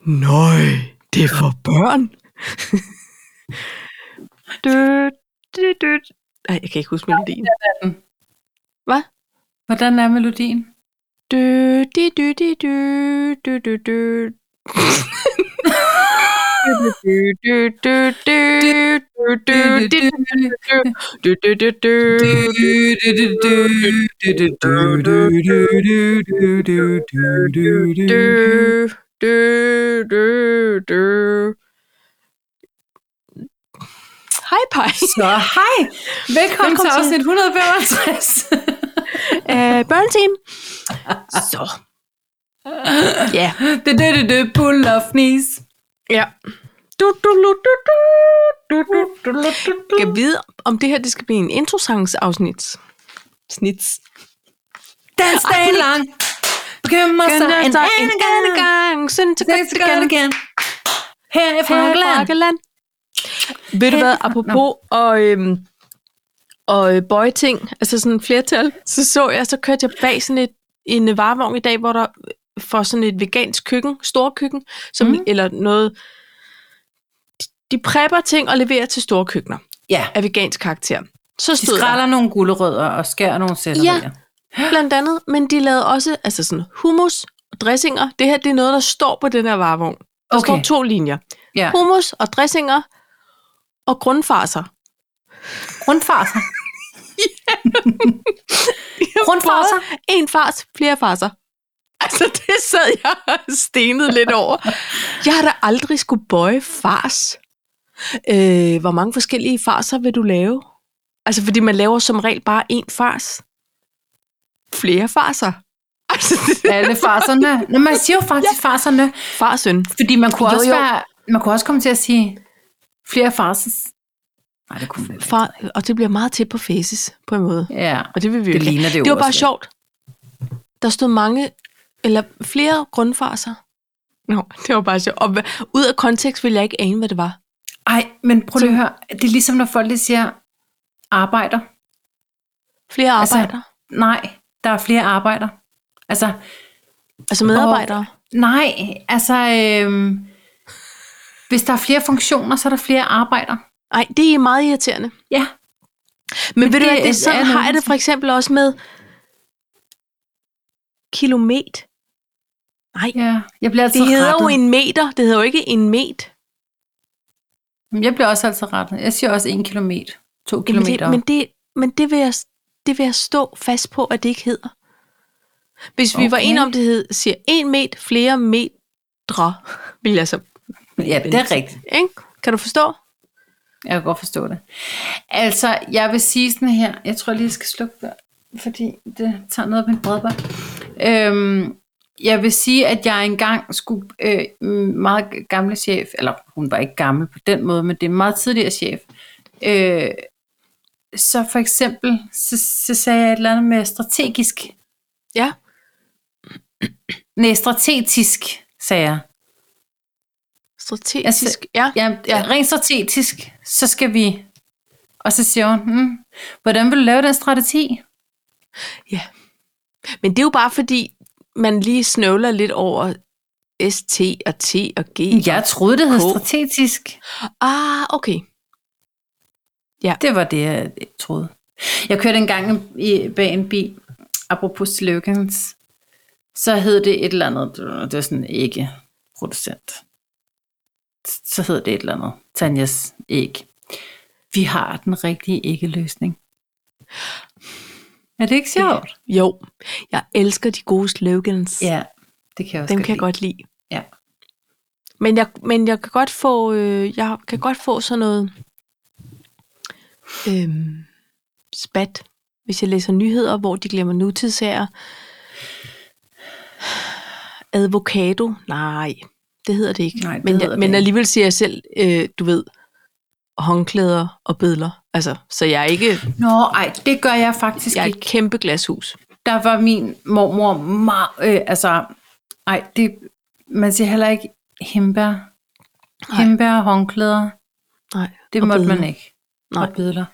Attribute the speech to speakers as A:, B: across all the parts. A: Nøj, det er for børn. Død, død, død. Ej, jeg kan ikke huske melodien.
B: Hvordan er melodien?
A: Dø, di, dø, di, dø, dø, dø, dø. Dø, dø, dø, dø, dø, dø, di, dø, dø, dø, dø. Dø, dø, dø, dø. Hej, Paj.
B: Så hej! Velkommen til
A: til-
B: afsnit 165.
A: Øh, Børneteam. Så. Ja.
B: Det dø dø dø pull off knees.
A: Ja. Du, du, du, du, du, du, du, du, du, du, du. Skal vide, om det her det skal blive en introsangsafsnit. Snits.
B: Dans dagen lang. Bekymmer
A: Gør
B: sig
A: det
B: en
A: så
B: anden gang.
A: gang. Synd til
B: Det skal godt igen. Her er Frankland.
A: Frankland. Ved du hvad, apropos og, øhm, og øh, bøjting, altså sådan flertal, så så jeg, så kørte jeg bag sådan et, en øh, varevogn i dag, hvor der øh, for sådan et vegansk køkken, storkøkken, som,
B: Mhm.
A: mm. eller noget, de, de prepper ting og leverer til store køkkener.
B: Ja,
A: af vegansk karakter. Så
B: de
A: stod der
B: skræller nogle gulerødder og skærer nogle sætterier.
A: blandt andet, men de lavede også altså sådan hummus og dressinger. Det her, det er noget, der står på den her varevogn. Der
B: Okay.
A: okay. står to linjer.
B: Ja.
A: Hummus og dressinger og grundfarser.
B: Rundfarser. Rundfarser.
A: En fars, flere farser. Altså, det sad jeg og stenede lidt over. Jeg har da aldrig skulle bøje fars. Øh, hvor mange forskellige farser vil du lave? Altså, fordi man laver som regel bare én fars. Flere farser. Altså, det
B: Alle farserne. Nå, man siger jo faktisk ja. farserne,
A: er far og søn.
B: fordi man kunne,
A: Jo,
B: jo, også
A: jo.
B: Være, man kunne også komme til at sige flere farses. Nej, det kunne man ikke.
A: Far, og det bliver meget tæt på faces, på en måde.
B: Ja,
A: Og det vil vi jo
B: det
A: ikke have.
B: ligner det jo
A: Det var bare
B: også lidt.
A: sjovt. Der stod mange, eller flere grundfarser. Nå, det var bare sjovt. Og hva- ud af kontekst ville jeg ikke ane, hvad det var.
B: Ej, men prøv lige at høre. Det er ligesom, når folk lige siger arbejder.
A: Flere
B: Altså-
A: arbejder. Altså,
B: Nej, der er flere arbejder. Altså,
A: altså medarbejdere.
B: nej, altså... Øhm, hvis der er flere funktioner, så er der flere arbejder.
A: Nej, det er meget irriterende.
B: Ja.
A: Men, Men ved du
B: det
A: hvad, det,
B: er-
A: er sådan
B: er
A: har jeg
B: nogen-
A: det for eksempel også med kilometer. Nej,
B: ja. Jeg bliver altid
A: det hedder
B: rettet.
A: jo en meter. Det hedder jo ikke en met.
B: Jamen, Jeg bliver også altid rettet. Jeg siger også en kilometer, to
A: Jamen, det-
B: kilometer.
A: Men det, men det, vil jeg, det vil jeg stå fast på, at det ikke hedder. Hvis vi var
B: Okay.
A: enige om, det hed, siger en met, flere metre, vil jeg så...
B: ja, det er rigtigt.
A: Ikke? Kan du forstå?
B: Jeg kan godt forstå det. Altså, jeg vil sige sådan her. Jeg tror lige, jeg skal slukke der, fordi det tager noget af min bredbånd. Øhm, jeg vil sige, at jeg engang skulle... Øh, min meget gamle chef, eller hun var ikke gammel på den måde, men det er en meget tidligere chef. Øh, så for eksempel, så, så sagde jeg et eller andet med strategisk.
A: Ja.
B: Nej, strategisk, sagde jeg.
A: Strategisk.
B: Altså,
A: Altså, ja.
B: Ja, ja.
A: Ja.
B: rent strategisk, så skal vi... Og så siger hun, hmm, hvordan vil du lave den strategi?
A: Men det er jo bare fordi, man lige snøvler lidt over ST og T og G.
B: Jeg troede, det hed
A: K.
B: strategisk.
A: Ah, okay.
B: Det var det, jeg troede. Jeg kørte engang i, bag en bil, apropos slogans, så hed det et eller andet, det var sådan ikke producent. Så hed det et eller andet, Tanjas æg. Vi har den rigtige ikke-løsning. Er det ikke sjovt?
A: Jo, jeg elsker de gode slogans.
B: Ja, det kan jeg også
A: Dem kan jeg
B: lide.
A: godt lide.
B: Ja.
A: Men jeg, men jeg kan godt få, øh, jeg kan godt få sådan noget øh, spat, hvis jeg læser nyheder, hvor de glemmer nutidssager. Advokado? Nej, det hedder det ikke.
B: Nej, det
A: men,
B: hedder det
A: men
B: ikke.
A: alligevel siger jeg selv, øh, du ved, håndklæder og billeder. Altså, så jeg er ikke,
B: Nå, ej, det gør jeg faktisk
A: jeg er et
B: ikke.
A: kæmpe glashus.
B: Der var min mormor meget, øh, altså, ej, det, man siger heller ikke hembær. Hembær og håndklæder,
A: Nej,
B: det
A: og
B: måtte
A: billeder.
B: man ikke.
A: Nej.
B: Og bidler.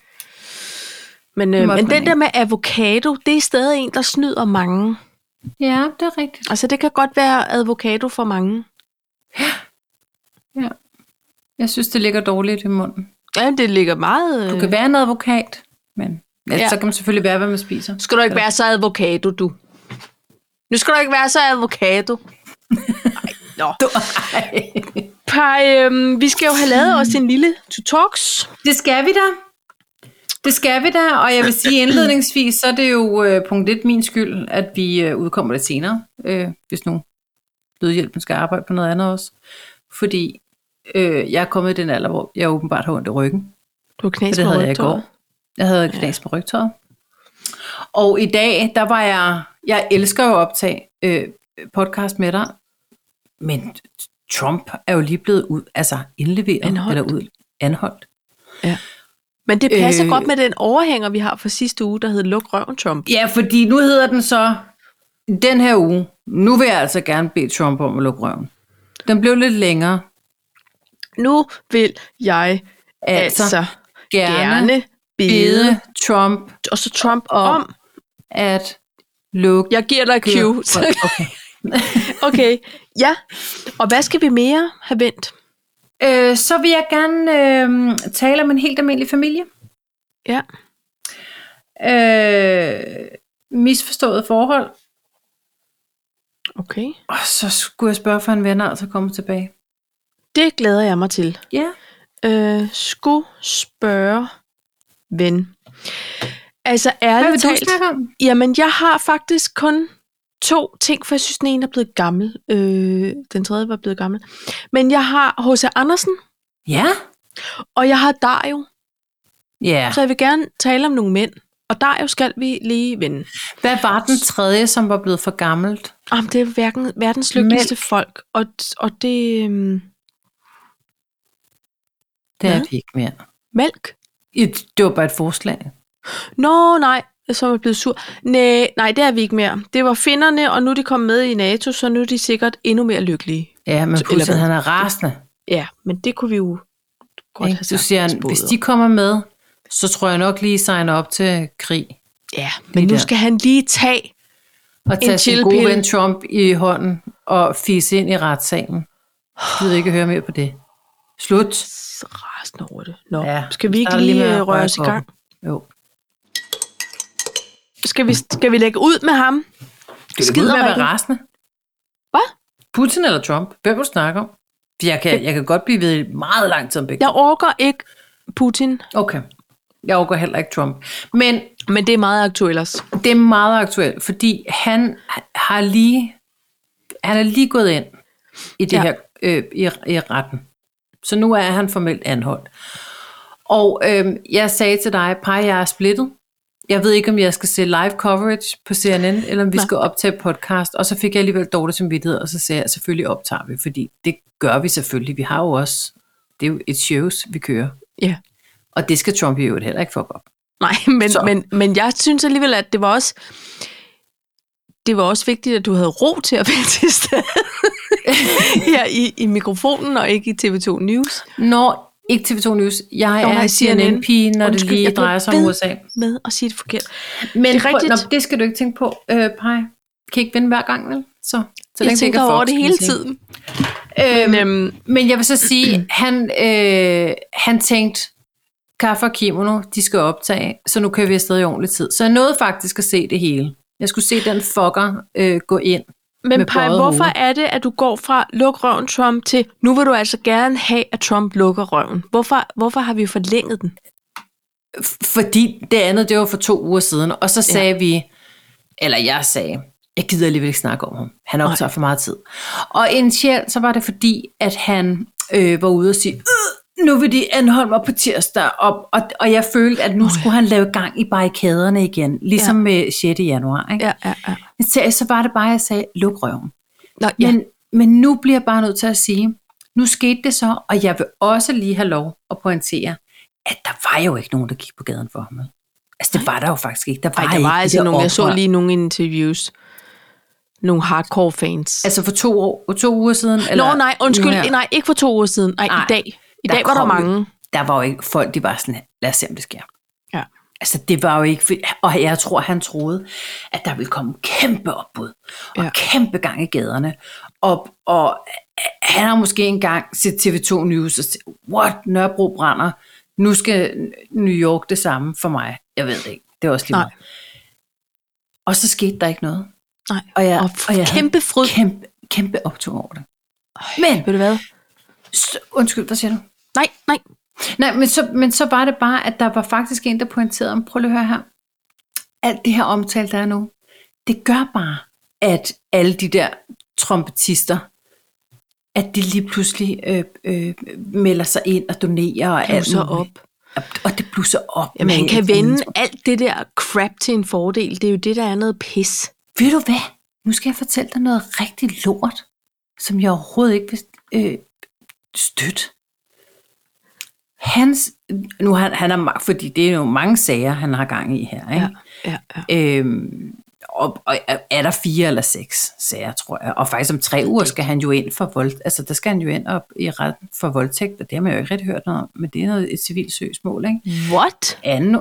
A: Men,
B: Det
A: øh,
B: måtte
A: men den
B: man ikke.
A: der med avocado, det er stadig en, der snyder mange.
B: Ja, det er rigtigt.
A: Altså, det kan godt være advokato for mange.
B: Ja. Jeg synes, det ligger dårligt i munden.
A: Ja, det ligger meget... øh,
B: Du kan være en advokat, men ja.
A: Ja.
B: så kan man selvfølgelig være, hvad man spiser.
A: Skal du ikke være så advokato, du? Nu skal du ikke være så advokato. Ej, Nå.
B: Du, ej.
A: Pej, øhm, vi skal jo have lavet os en lille to talks.
B: Det skal vi da. Det skal vi da, og jeg vil sige indledningsvis, så er det jo øh, punkt 1 min skyld, at vi øh, udkommer lidt senere, øh, hvis nu lydhjælpen skal arbejde på noget andet også. Fordi øh, jeg er kommet i den alder, hvor jeg åbenbart har ondt i ryggen.
A: Du har knas
B: For det
A: med
B: havde jeg i
A: rygtøjet.
B: går. Jeg havde knas med rygtøjet. Og i dag, der var jeg... Jeg elsker jo at optage øh, podcast med dig, men Trump er jo lige blevet ud, altså indleveret
A: Anholdt.
B: eller ud, anholdt.
A: Men det passer
B: Øh.
A: øh... godt med den overhænger, vi har fra sidste uge, der hed Luk røven, Trump.
B: Ja, fordi nu hedder den så den her uge. Nu vil jeg altså gerne bede Trump om at lukke røven. Den blev lidt længere.
A: Nu vil jeg altså,
B: Altså,
A: altså
B: gerne,
A: gerne,
B: gerne
A: gerne bede,
B: bede Trump
A: og så Trump
B: Og-
A: om.
B: at lukke
A: Jeg giver dig Q.
B: Okay.
A: okay, ja. Og hvad skal vi mere have vendt?
B: Øh, så vil jeg gerne øh, tale om en helt almindelig familie.
A: Ja.
B: Øh, misforstået forhold.
A: Okay.
B: Og så skulle jeg spørge for en venner, og så komme tilbage.
A: Det glæder jeg mig til.
B: Ja.
A: Øh, skulle spørge ven. Altså
B: Hvad
A: ærligt
B: vil du
A: talt,
B: snakke om?
A: jamen jeg har faktisk kun to ting, for jeg synes, den ene er blevet gammel. Øh, den tredje var blevet gammel. Men jeg har H.C. Andersen,
B: Ja.
A: og jeg har Dario.
B: Ja.
A: Så jeg vil gerne tale om nogle mænd. Og Dario skal vi lige vende.
B: Hvad var den tredje, som var blevet for gammelt?
A: Jamen, det er hverken, verdens lykkeligste folk, og, og det er øhm,
B: Det er
A: Ja.
B: det ikke mere.
A: mælk.
B: Et- Det var bare et forslag.
A: Nå, nej, som er blevet sur. Nej, nej, det er vi ikke mere. Det var finderne, og nu er de kommet med i NATO, så nu er de sikkert endnu mere lykkelige.
B: Ja, men
A: Så- eller
B: Putin,
A: hvad?
B: han er rasende.
A: Ja, men det kunne vi jo godt altså,
B: ikke?
A: have
B: Så
A: sagt.
B: siger han,
A: spået
B: hvis
A: om.
B: de kommer med, så tror jeg nok lige, signer op til krig.
A: Ja, men
B: de
A: nu
B: der.
A: skal han lige tage...
B: Og tage sin
A: chillpille.
B: gode ven Trump i hånden og fise ind i retssalen. Jeg vil ikke høre mere på det. Slut.
A: Rasende over det. Nå,
B: Ja,
A: ja, skal vi ikke
B: starter
A: lige,
B: lige med at
A: øh, røre
B: røre
A: os i
B: på den.
A: gang?
B: Jo.
A: Skal vi, skal vi lægge ud med ham?
B: Skider med at være
A: Skiderrikken.
B: rasende.
A: Hvad?
B: Putin eller Trump? Hvem vil du snakke om? For jeg kan, jeg kan godt blive ved i meget lang tid om begge.
A: Jeg orker ikke Putin,
B: Okay. Jeg overgår heller ikke Trump. Men
A: men det er meget aktuelt også.
B: det er meget aktuelt, fordi han har lige, han er lige gået ind i det ja.
A: Ja.
B: her øh, i, i retten. Så nu er han formelt anholdt. Og øh, jeg sagde til dig, par, jeg er splittet. Jeg ved ikke, om jeg skal se live coverage på CNN, eller om vi
A: Nej.
B: skal optage podcast. Og så fik jeg alligevel dårlig samvittighed, og så sagde jeg, selvfølgelig optager vi, fordi det gør vi selvfølgelig. Vi har jo også, det er jo et shows, vi kører.
A: Ja.
B: Og det skal Trump i øvrigt heller ikke fuck op.
A: Nej, men,
B: Så.
A: men, men jeg synes alligevel, at det var også det var også vigtigt, at du havde ro til at være til stede her i, i mikrofonen og ikke i TV2 News
B: Nå, ikke TV2 News. Jeg
A: Nå,
B: er
A: nej,
B: en CNN-pige, når det
A: Undskyld,
B: lige
A: jeg blev
B: drejer sig om
A: ved.
B: USA.
A: med at sige det forkert.
B: Men det,
A: er rigtigt.
B: Nå, det skal du ikke tænke på, øh, Paj. Kan ikke vinde hver gang, vel? Så, så
A: Så jeg
B: længe ikke
A: tænker
B: er
A: over
B: Fox,
A: det
B: kan
A: hele
B: man sige.
A: tiden.
B: Øhm,
A: Men, øhm,
B: Men jeg vil så sige, han, øh, han tænkte, kaffe og kimono, de skal optage, så nu kører vi afsted i ordentlig tid. Så jeg nåede faktisk at se det hele. Jeg skulle se den fucker øh, gå ind. med
A: men Paj,
B: bøjet
A: hvorfor
B: hoved.
A: er det, at du går fra luk røven Trump til, nu vil du altså gerne have, at Trump lukker røven? Hvorfor, hvorfor har vi forlænget den?
B: fordi det andet, det var for to uger siden, og så sagde ja. vi, eller jeg sagde, jeg gider alligevel ikke snakke om ham. Han optager for meget tid. Og initialt, så var det fordi, at han øh, var ude og sige, "Øh, nu vil de anholde mig på tirsdag, og, og, og jeg følte, at nu oh, ja. skulle han lave gang i barrikaderne igen, ligesom ja. med 6. januar. Ikke?
A: Ja, ja, ja.
B: Men seriøst, så var det bare, at jeg sagde, luk røven.
A: Nå, ja.
B: Men, men nu bliver jeg bare nødt til at sige, nu skete det så, og jeg vil også lige have lov at pointere, at der var jo ikke nogen, der gik på gaden for ham. vel? Altså, det var der jo faktisk ikke. Der var,
A: Ej, der var
B: ikke det
A: altså
B: der
A: nogle, jeg så
B: oprør.
A: lige nogle interviews. Nogle hardcore fans.
B: Altså for to, år, to uger siden?
A: Eller, Nå, nej, undskyld.
B: Nu her.
A: Nej, ikke for to uger siden. Nej,
B: Nej,
A: i dag. I
B: der
A: dag var der
B: kom jo-
A: mange.
B: Der var jo ikke folk, de var sådan, lad os se, om det sker.
A: Ja.
B: Altså, det var jo ikke... for- Og jeg tror, han troede, at der ville komme kæmpe opbud og
A: Ja.
B: kæmpe gang i gaderne. Og, og han har måske engang set TV2 News og sagt, what, Nørrebro brænder, nu skal New York det samme for mig. Jeg ved det ikke, det er også lige
A: Nej.
B: meget. Og så skete der ikke noget.
A: Nej.
B: Og jeg,
A: Og,
B: og jeg havde
A: kæmpe fryd.
B: kæmpe, kæmpe optog over det. Men,
A: Ved du hvad?
B: s- undskyld, hvad siger du?
A: Nej, nej.
B: Nej, men så, men så var det bare, at der var faktisk en, der pointerede om, prøv lige at høre her, alt det her omtale, der er nu, det gør bare, at alle de der trompetister, at de lige pludselig øh, øh, melder sig ind og donerer og alt
A: Blusser
B: muligt.
A: op.
B: Og- Og det blusser op.
A: Jamen,
B: med
A: han kan
B: alt muligt.
A: vende alt det der crap til en fordel. Det er jo det, der er noget pis.
B: Ved du hvad? Nu skal jeg fortælle dig noget rigtig lort, som jeg overhovedet ikke vil øh, støtte. Hans, nu han, han er, ma- fordi det er jo mange sager, han har gang i her, ikke?
A: Ja, ja.
B: Ja. Øhm, og, og er der fire eller seks sager, tror jeg. Og faktisk om tre uger skal han jo ind for vold, altså der skal han jo ind op i retten for voldtægt, og det har man jo ikke rigtig hørt noget om, men det er noget, et civilt søgsmål, ikke?
A: What?
B: 2.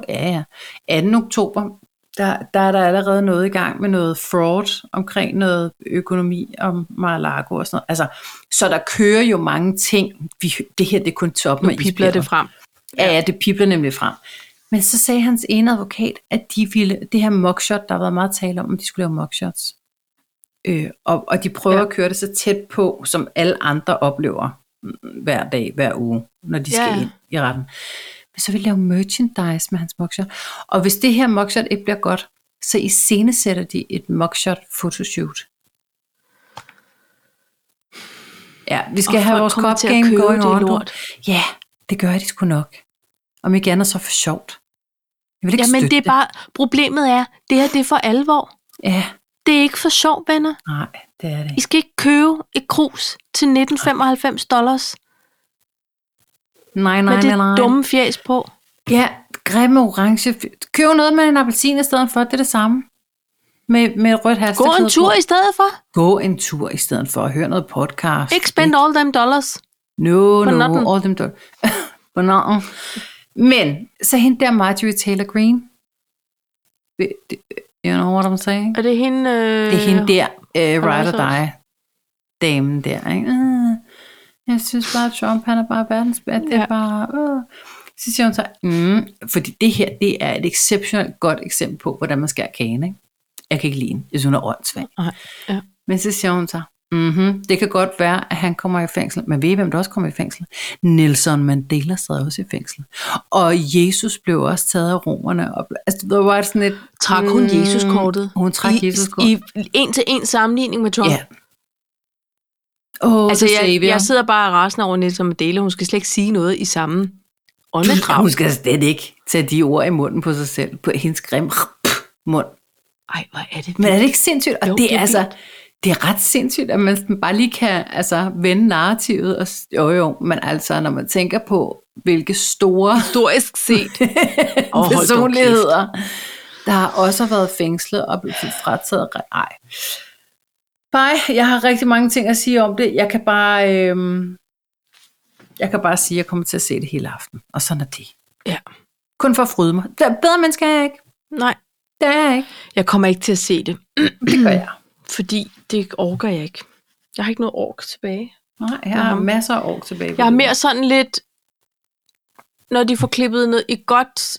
B: Ja, ja. 2. oktober, der, der er der allerede noget i gang med noget fraud omkring noget økonomi om Mar-a-Lago og sådan noget. Altså, så der kører jo mange ting. Vi, det her, det er kun toppen
A: Nu
B: af
A: pipler det
B: isbjerget.
A: frem.
B: Ja, ja, det pipler nemlig frem. Men så sagde hans ene advokat, at de ville, det her mugshot, der har været meget tale om, at de skulle lave mugshots. Øh, og, og de prøver
A: Ja.
B: ja. at køre det så tæt på, som alle andre oplever mm, hver dag, hver uge, når de skal
A: Ja.
B: ja. ind i retten. Men så vil de lave merchandise med hans mugshot. Og hvis det her mugshot ikke bliver godt, så iscenesætter de et mugshot photoshoot. Ja, vi skal
A: Og
B: have
A: folk
B: vores
A: kommer
B: cop
A: til at
B: game
A: købe
B: going
A: det
B: on. du.
A: lort.
B: Ja, det gør de sgu nok. Om ikke andet så for sjovt. Jeg vil ikke
A: Jamen,
B: støtte
A: det er bare... Problemet er, det her, det er for alvor.
B: Ja,
A: Det er ikke for sjov, venner.
B: nej, det er det
A: I
B: ikke.
A: skal ikke købe et krus til 1995 dollars
B: Nej, nej,
A: med
B: nej, nej.
A: det dumme fjæs på.
B: Ja, grimme orange. Køb noget med en appelsin i stedet for, det er det samme. Med, med et rødt
A: Gå
B: halstekæde
A: en tur
B: på.
A: i stedet for.
B: Gå en tur i stedet for at høre noget podcast.
A: Ikke spend all them dollars.
B: No,
A: På
B: no,
A: natten.
B: all them done. På natten. Men så hende der Marjorie Taylor Green. You know what I'm saying?
A: Er det hende... Øh...
B: Det er hende der, uh, right
A: også-
B: or die, damen der. Ikke? Øh, jeg synes bare, at Trump han er bare verdens bedste. Det er
A: Ja.
B: bare... Øh. Så siger hun så, mm, fordi det her, det er et exceptionelt godt eksempel på, hvordan man skærer kagen. Ikke? Jeg kan ikke lide hende. Jeg synes, hun er åndssvag.
A: Nej, ja.
B: Men så siger hun så, mm-hmm, det kan godt være, at han kommer i fængsel. Men ved I, hvem der også kommer i fængsel? Nelson Mandela sad også i fængsel. Og Jesus blev også taget af romerne. Og, altså, det var sådan et...
A: øh,
B: "Mm."
A: Trak hun Jesuskortet?
B: Hun trak
A: I,
B: Jesuskortet.
A: I en til en sammenligning med Trump.
B: Ja. Oh,
A: altså, jeg, jeg sidder bare rasende over Nielsen Mandela. Hun skal slet ikke sige noget i samme åndedrag.
B: Hun skal slet ikke tage de ord i munden på sig selv, på hendes grimme mund.
A: Ej, hvor er det
B: Men er det ikke sindssygt? Og
A: Jo,
B: jo, det,
A: det
B: er
A: er
B: altså, det er ret sindssygt, at man sådan bare lige kan altså, vende narrativet. Og, s- jo jo, men altså, når man tænker på, hvilke store
A: historisk set. hold dog
B: personligheder, der har også været fængslet og blevet frataget. re- Ej. Bye. Jeg har rigtig mange ting at sige om det. Jeg kan bare, øhm, jeg kan bare sige, at jeg kommer til at se det hele aften. Og sådan er det.
A: Ja.
B: Kun for at fryde mig. Der, bedre mennesker er jeg ikke.
A: Nej,
B: Det er jeg ikke.
A: jeg kommer ikke til at se det,
B: Det gør jeg.
A: fordi det orker jeg ikke. Jeg har ikke noget ork tilbage.
B: Nej, jeg har
A: Mhm.
B: masser af år tilbage.
A: Jeg har mere sådan lidt, når de får klippet noget i godt,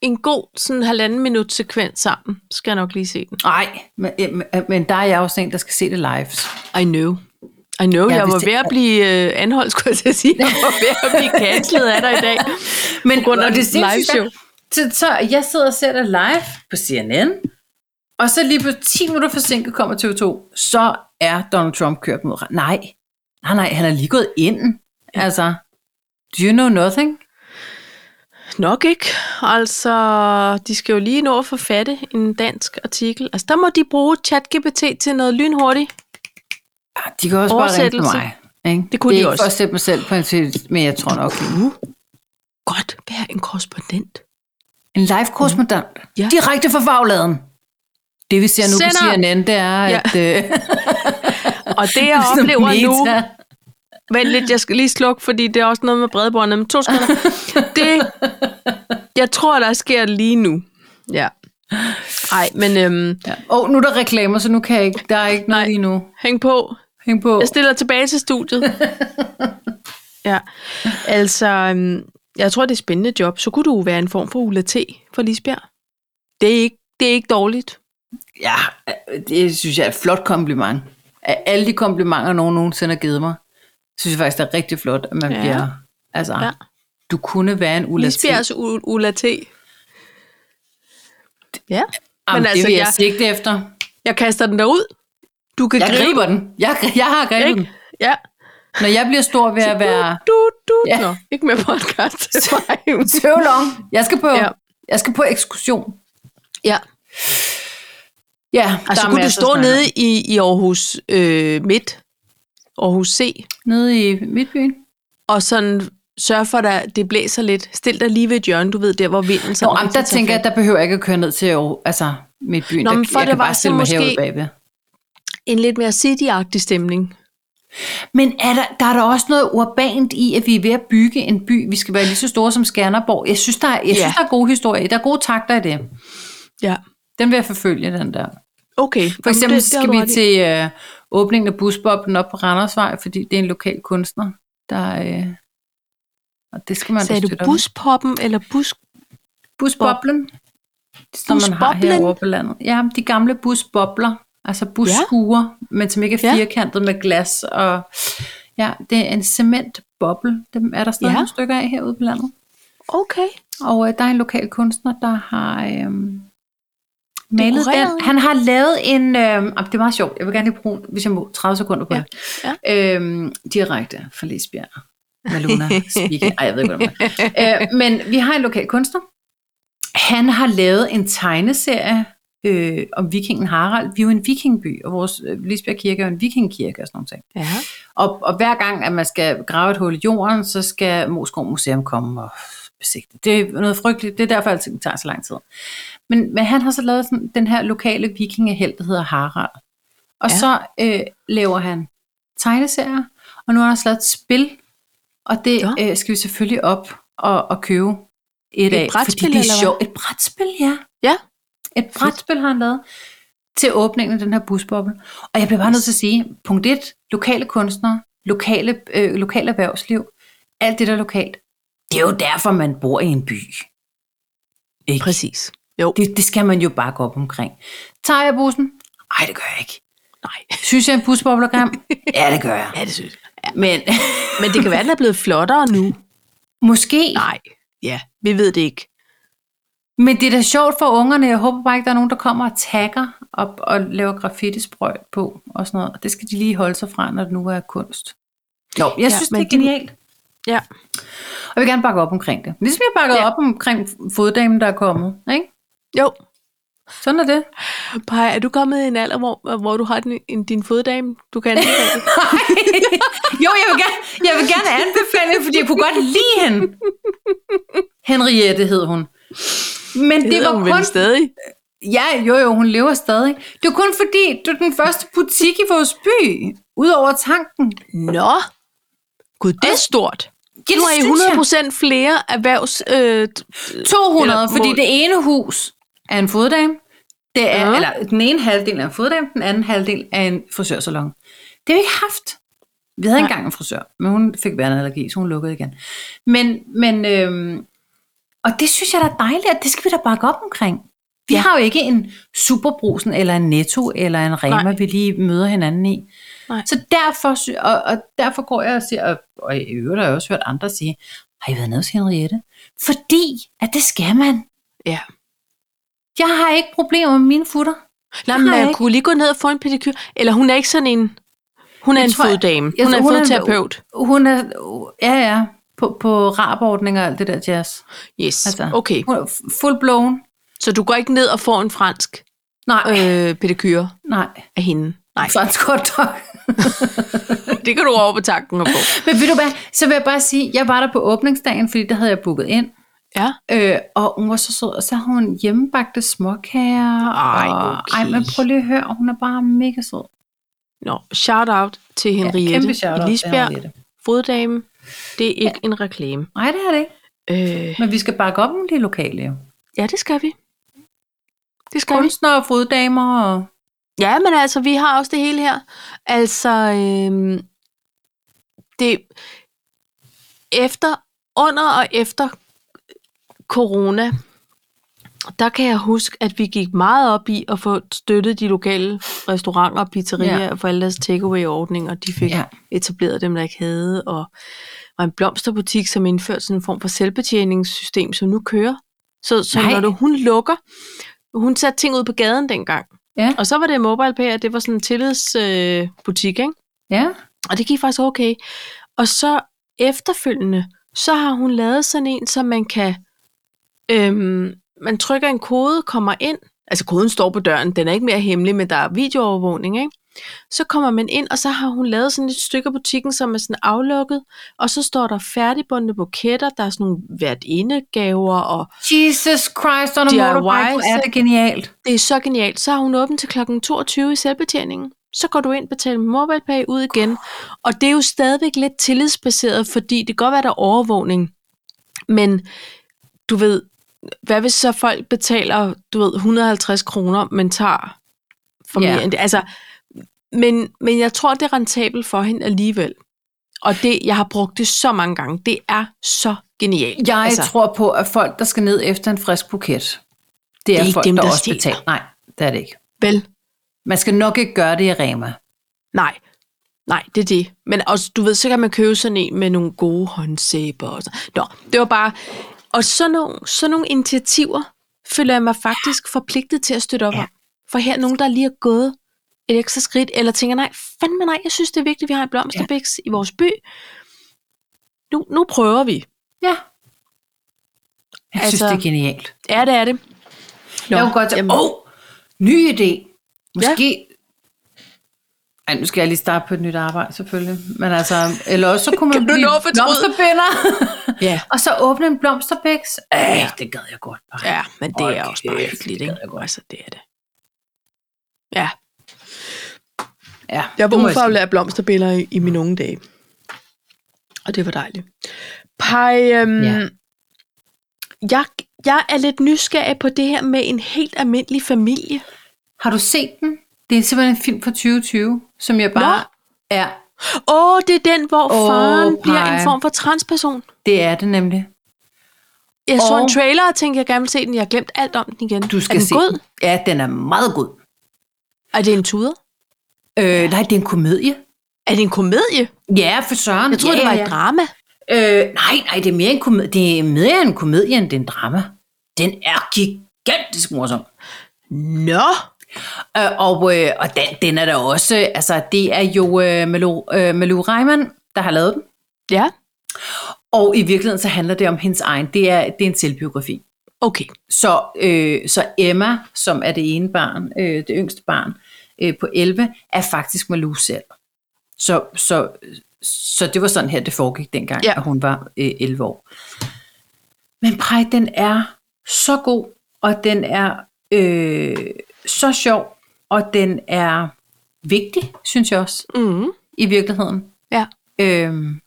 A: en god sådan halvanden minut sekvens sammen, skal jeg nok lige se den.
B: Nej, men, men, men der er jeg også en, der skal se det live.
A: I know. I know,
B: Ja,
A: jeg
B: hvis
A: var
B: det-
A: ved at blive øh, anholdt, skulle jeg til at sige. Jeg var ved at blive cancelet af dig i dag.
B: Men
A: På grund af
B: og
A: det
B: sindssygt
A: live show.
B: Så, så jeg sidder og ser det live på CNN, og så lige på 10 minutter forsinket kommer TV2, så er Donald Trump kørt mod... ret- Nej, nej, nej, han er lige gået ind. Altså, do you know nothing?
A: Nok ikke. Altså, de skal jo lige nå at forfatte en dansk artikel. Altså, der må de bruge ChatGPT til noget lynhurtigt.
B: Ah, De kan også bare ringe til
A: Oversættelse.
B: mig. Ikke?
A: Det kunne
B: det er
A: de
B: ikke
A: også.
B: for at sætte mig selv på en tid, men jeg tror nok.
A: Uh, godt være en korrespondent.
B: En live korrespondent.
A: Mm. Ja.
B: Ja. Direkte fra fagladen. Det vi ser nu
A: Sender.
B: på CNN, det er,
A: Ja.
B: ja. at... Øh,
A: Og det, jeg
B: Ligesom
A: oplever nu...
B: meta.
A: Vent lidt, jeg skal lige slukke, fordi det er også noget med bredbåndet. Men to sekunder. Det, jeg tror, der sker lige nu. Ja. Nej, men øhm,
B: Åh, ja. oh, nu er der reklamer, så nu kan jeg ikke. Der er ikke noget
A: Nej.
B: lige nu.
A: hæng på.
B: Hæng på.
A: Jeg stiller tilbage til studiet. ja, altså, øhm, jeg tror, det er et spændende job. Så kunne du jo være en form for Ulla T for Lisbjerg. Det er ikke, det er ikke dårligt.
B: Ja, det synes jeg er et flot kompliment. Af alle de komplimenter, nogen nogensinde har givet mig, synes jeg faktisk, det er rigtig flot, at man
A: Ja.
B: ja. bliver... Altså,
A: Ja.
B: ja. du kunne være en Ulla T.
A: Lisbjergs U- Ulla T. Ja,
B: Jamen,
A: men
B: det
A: altså,
B: vil jeg,
A: jeg-
B: sigte efter.
A: jeg kaster den derud. Du kan
B: Jeg
A: gribe
B: griber den. Jeg, jeg har grebet den.
A: Ikke? Ja.
B: Når jeg bliver stor ved at være
A: Du, du, ja.
B: Ja.
A: Nå, ikke med podcast til mig.
B: tøvlong, jeg skal på,
A: Ja.
B: ja. jeg skal på ekskursion.
A: ja.
B: Ja,
A: Altså,
B: der er
A: kunne du
B: masser at
A: stå
B: snakke
A: nede i, i Aarhus øh, Midt, Aarhus C,
B: om. nede i Midtbyen.
A: og sådan sørge for, at det blæser lidt. Stil dig lige ved et hjørne, du ved, der hvor vinden så
B: Nå, jamen, der tænker jeg, der behøver jeg ikke at køre ned til Aarhus- altså, Midtbyen.
A: Nå,
B: der,
A: men for
B: jeg
A: det
B: kan
A: var
B: bare
A: så
B: stille mig
A: måske-
B: herude bagved.
A: En lidt mere city-agtig stemning.
B: Men er der, der er der også noget urbant i, at vi er ved at bygge en by. Vi skal være lige så store som Skanderborg. Jeg synes, der er, jeg
A: Ja.
B: synes, der er gode historier. Der er gode takter i det.
A: Ja.
B: Den vil jeg forfølge, den der.
A: Okay.
B: For
A: Jamen,
B: eksempel
A: det- det har
B: skal
A: du
B: vi
A: ret i.
B: til øh, åbningen af busboblen op på Randersvej, fordi det er en lokal kunstner, der... Øh, og det skal man da
A: Sagde du
B: støtte op.
A: buspoppen eller bus...
B: Busboblen, som man har
A: Busboblen?
B: herovre på landet. Ja, de gamle busbobler, altså busskuer, ja. men som ikke
A: Ja.
B: er firkantet med glas. Og, ja, det er en cementboble. Dem er der stadig
A: Ja.
B: ja. nogle stykker af herude på landet.
A: Okay.
B: Og øh, der er en lokal kunstner, der har øh, malet
A: Dekoreret.
B: den. Han har lavet en... Øh, ah, det er meget sjovt. Jeg vil gerne lige bruge, hvis jeg må, 30 sekunder på
A: Ja.
B: ja. det. Ja. Øh, direkte fra Lisbjerg. Maluna Spikke. Ej, jeg ved ikke, hvordan det er. øh, Men vi har en lokal kunstner. Han har lavet en tegneserie øh, om vikingen Harald. Vi er jo en vikingby, og vores øh, Lisbjerg Kirke er jo en vikingkirke og sådan noget.
A: Ja.
B: Og, og hver gang, at man skal grave et hul i jorden, så skal Moskov Museum komme og besigte. Det er noget frygteligt. Det er derfor, at det tager så lang tid. Men, men han har så lavet sådan, den her lokale vikingehelt, der hedder Harald. Og
A: Ja.
B: ja. så øh, laver han tegneserier, og nu har han også lavet et spil. Og det
A: Nå.
B: øh, skal vi selvfølgelig op og, og købe et, et af.
A: brætspil,
B: fordi
A: eller
B: det er
A: hvad?
B: sjovt. Et brætspil, ja.
A: Ja.
B: Et brætspil har han lavet til åbningen af den her busboble. Og jeg bliver bare nødt til at sige, punkt 1, lokale kunstnere, lokale, øh, lokale erhvervsliv, alt det der er lokalt, det er jo derfor, man bor i en by. Ikke?
A: Præcis. Jo.
B: Det, det skal man jo bare gå op omkring. Tager jeg bussen? Nej, det gør jeg ikke.
A: Nej.
B: Synes jeg en busboble er grim? ja, det gør jeg.
A: Ja, det synes jeg.
B: Men
A: Men det kan være, den er blevet flottere nu.
B: måske.
A: Nej. Ja, vi ved det ikke.
B: Men det er da sjovt for ungerne. Jeg håber bare ikke, der er nogen, der kommer og tagger op og laver graffitisprøjt på og sådan noget. Og det skal de lige holde sig fra, når det nu er kunst. Nå, jeg ja, synes, det
A: men
B: er genialt.
A: Ja.
B: Og jeg vil gerne bakke op omkring det. Ligesom jeg bakkede
A: Ja.
B: ja. op omkring foddamen, der er kommet. Ikke?
A: Jo.
B: Sådan er det.
A: Paj, er du kommet i en alder, hvor, hvor du har din, en- din foddame? Du kan anbefale?
B: jo, jeg vil, gerne, jeg vil gerne anbefale det, fordi jeg kunne godt lide hende. Henriette hed hun. Men det,
A: det
B: det
A: hedder
B: var
A: hun vel
B: kun
A: stadig.
B: Ja, jo jo, hun lever stadig. Det var kun fordi, du er den første butik i vores by, udover tanken.
A: Nå. Gud, det er stort.
B: Ja,
A: Nu har I
B: synes jeg.
A: 100% flere erhvervs... Øh, t-
B: 200,
A: Eller
B: fordi
A: mål.
B: det ene hus er en foddame. Det er,
A: Ja.
B: ja. eller, den ene halvdel er en foddame, den anden halvdel er en frisørsalon. Det har vi ikke haft. Vi havde
A: Nej.
B: engang en frisør, men hun fik værneallergi, så hun lukkede igen. Men, men øhm, og det synes jeg da er dejligt, at det skal vi da bakke op omkring. Vi
A: Ja.
B: ja. har jo ikke en superbrusen, eller en netto, eller en Rema,
A: Nej.
B: vi lige møder hinanden i.
A: Nej.
B: Så derfor, sy- og, og derfor går jeg og siger, og, og i øvrigt har jeg også hørt andre sige, har I været nede hos Henriette? Fordi, at det skal man.
A: ja.
B: Jeg har ikke problemer med mine futter.
A: Nej, men
B: har jeg
A: man
B: ikke.
A: kunne lige gå ned og få en pedikyr. Eller hun er ikke sådan en... Hun er
B: Jeg
A: en
B: tror, jeg-
A: foddame.
B: jeg
A: Hun er
B: tror,
A: en
B: hun er en-
A: fodterapeut.
B: Hun er, ja ja, på, på rabordninger og alt det der jazz.
A: Yes,
B: Altså,
A: okay.
B: Hun er f- full blown.
A: Så du går ikke ned og får en fransk
B: Nej, øh.
A: øh, pedikyr
B: nej.
A: af hende? Nej,
B: Fransk hotdog.
A: det kan du over på tanken og få.
B: Men ved du hvad, så vil jeg bare sige, jeg var der på åbningsdagen, fordi der havde jeg booket ind.
A: Ja.
B: Øh, og hun var så sød, og så havde hun hjemmebagte småkager.
A: Ej,
B: og,
A: okay.
B: ej, men prøv lige at høre, hun er bare mega sød.
A: Nå, shout-out til Henriette.
B: kæmpe shout-out til
A: Lisbjerg,
B: Henriette.
A: foddame. Det er ikke ja. en reklame.
B: Nej, det er det ikke.
A: Øh,
B: Men vi skal bakke op om de lokale jo.
A: ja, det skal vi. Det skal vi.
B: Kunstnere og foddamer og
A: Ja, men altså, vi har også det hele her. Altså, øhm, det efter, under og efter corona, der kan jeg huske, at vi gik meget op i at få støttet de lokale restauranter og pizzerier ja. for alle deres takeaway-ordninger. De fik ja.
B: Ja.
A: etableret dem, der ikke havde, og var en blomsterbutik, som indførte sådan en form for selvbetjeningssystem, som nu kører. Så, så
B: Nej.
A: når du, hun lukker, hun satte ting ud på gaden dengang.
B: Ja.
A: Og så var det MobilePay, og det var sådan en tillidsbutik, øh, butik, ikke?
B: Ja.
A: Og det gik faktisk okay. Og så efterfølgende, så har hun lavet sådan en, så man kan... Øhm, man trykker en kode, kommer ind. Altså koden står på døren, den er ikke mere hemmelig, men der er videoovervågning, ikke? Så kommer man ind, og så har hun lavet sådan et stykke af butikken, som er sådan aflukket, og så står der færdigbundne buketter, der er sådan nogle værtindegaver, og
B: Jesus Christ on a
A: DIY,
B: motorbike, hvor er det genialt.
A: Det er så genialt. Så har hun åbent til kl. 22 i selvbetjeningen. Så går du ind, betaler med MobilePay ud igen. Og det er jo stadigvæk lidt tillidsbaseret, fordi det kan godt være, der er overvågning. Men du ved, hvad hvis så folk betaler, du ved, 150 kroner, men tager for mere
B: Ja.
A: end det? Altså, men, men jeg tror, det er rentabelt for hende alligevel. Og det, jeg har brugt det så mange gange, det er så genialt.
B: Jeg altså, tror på, at folk, der skal ned efter en frisk buket, det
A: er
B: er, det er
A: ikke
B: folk,
A: dem,
B: dem, der,
A: der
B: der også
A: stjæler.
B: betaler. Nej, det er det ikke.
A: Vel,
B: Man skal nok ikke gøre det i Rema.
A: Nej, nej, det er det. Men også, du ved, så kan man købe sådan en med nogle gode håndsæber. Og så. Nå, det var bare... Og sådan nogle, sådan nogle initiativer føler jeg mig faktisk forpligtet til at støtte op om. For her er nogen, der lige er gået et ekstra skridt, eller tænker, nej, fandme nej, jeg synes, det er vigtigt, at vi har en blomsterbæks i vores by. Nu, nu prøver vi.
B: Ja. Jeg altså, synes,
A: Altså,
B: det er genialt.
A: Ja, det er det.
B: Nå, jeg kunne godt tænke, åh, oh, ny idé. Måske... Ja. Ej, nu skal jeg lige starte på et nyt arbejde, selvfølgelig. Men altså, eller også så kunne man
A: Kan du
B: blive
A: nå at fortryde?
B: blomsterbinder.
A: Ja.
B: og så åbne en blomsterbæks. Ej, det gad jeg godt bare.
A: Ja, men det
B: Hold
A: er også bare
B: kæft,
A: hyggeligt,
B: det
A: ikke?
B: gad jeg godt.
A: Altså, det er det. Ja.
B: ja
A: Jeg var
B: det må sige.
A: ufaglært blomsterbilleder i, i mine unge dage. Og det var dejligt. Pej, øhm, ja.
B: Ja.
A: jeg, jeg er lidt nysgerrig på det her med en helt almindelig familie.
B: Har du set den? Det er simpelthen en film fra 2020, som jeg bare er.
A: Åh, det er den, hvor oh,
B: Åh,
A: faren bliver en
B: Paj.
A: form for transperson.
B: Det er det nemlig.
A: Jeg så
B: Og-
A: en trailer og tænkte, jeg gerne vil se den. Jeg har glemt alt om den igen.
B: Du skal
A: er den
B: se
A: god?
B: den. Ja, den er meget god.
A: Er det en tuder?
B: Øh, nej, det er en komedie.
A: Er det en komedie?
B: Ja, for søren.
A: Jeg troede,
B: ja,
A: det var
B: ja.
A: et drama.
B: Øh, nej, nej, det er mere en komedie. Det er mere en komedie, end det er en drama. Den er gigantisk morsom.
A: Nå!
B: Øh, og øh, og den, den er der også, øh, altså det er jo øh, Malou, øh, Malou Reimann, der har lavet den.
A: Ja,
B: Og i virkeligheden så handler det om hendes egen. Det er, det er en selvbiografi.
A: okay.
B: Så, øh, så Emma, som er det ene barn, øh, det yngste barn øh, på 11, er faktisk Malou selv. Så, så, så det var sådan her, det foregik dengang,
A: Ja.
B: ja. at hun var øh, 11 år. Men Prej, den er så god, og den er øh, så sjov, og den er vigtig, synes jeg også,
A: Mm.
B: i virkeligheden.
A: Ja.
B: Øhm,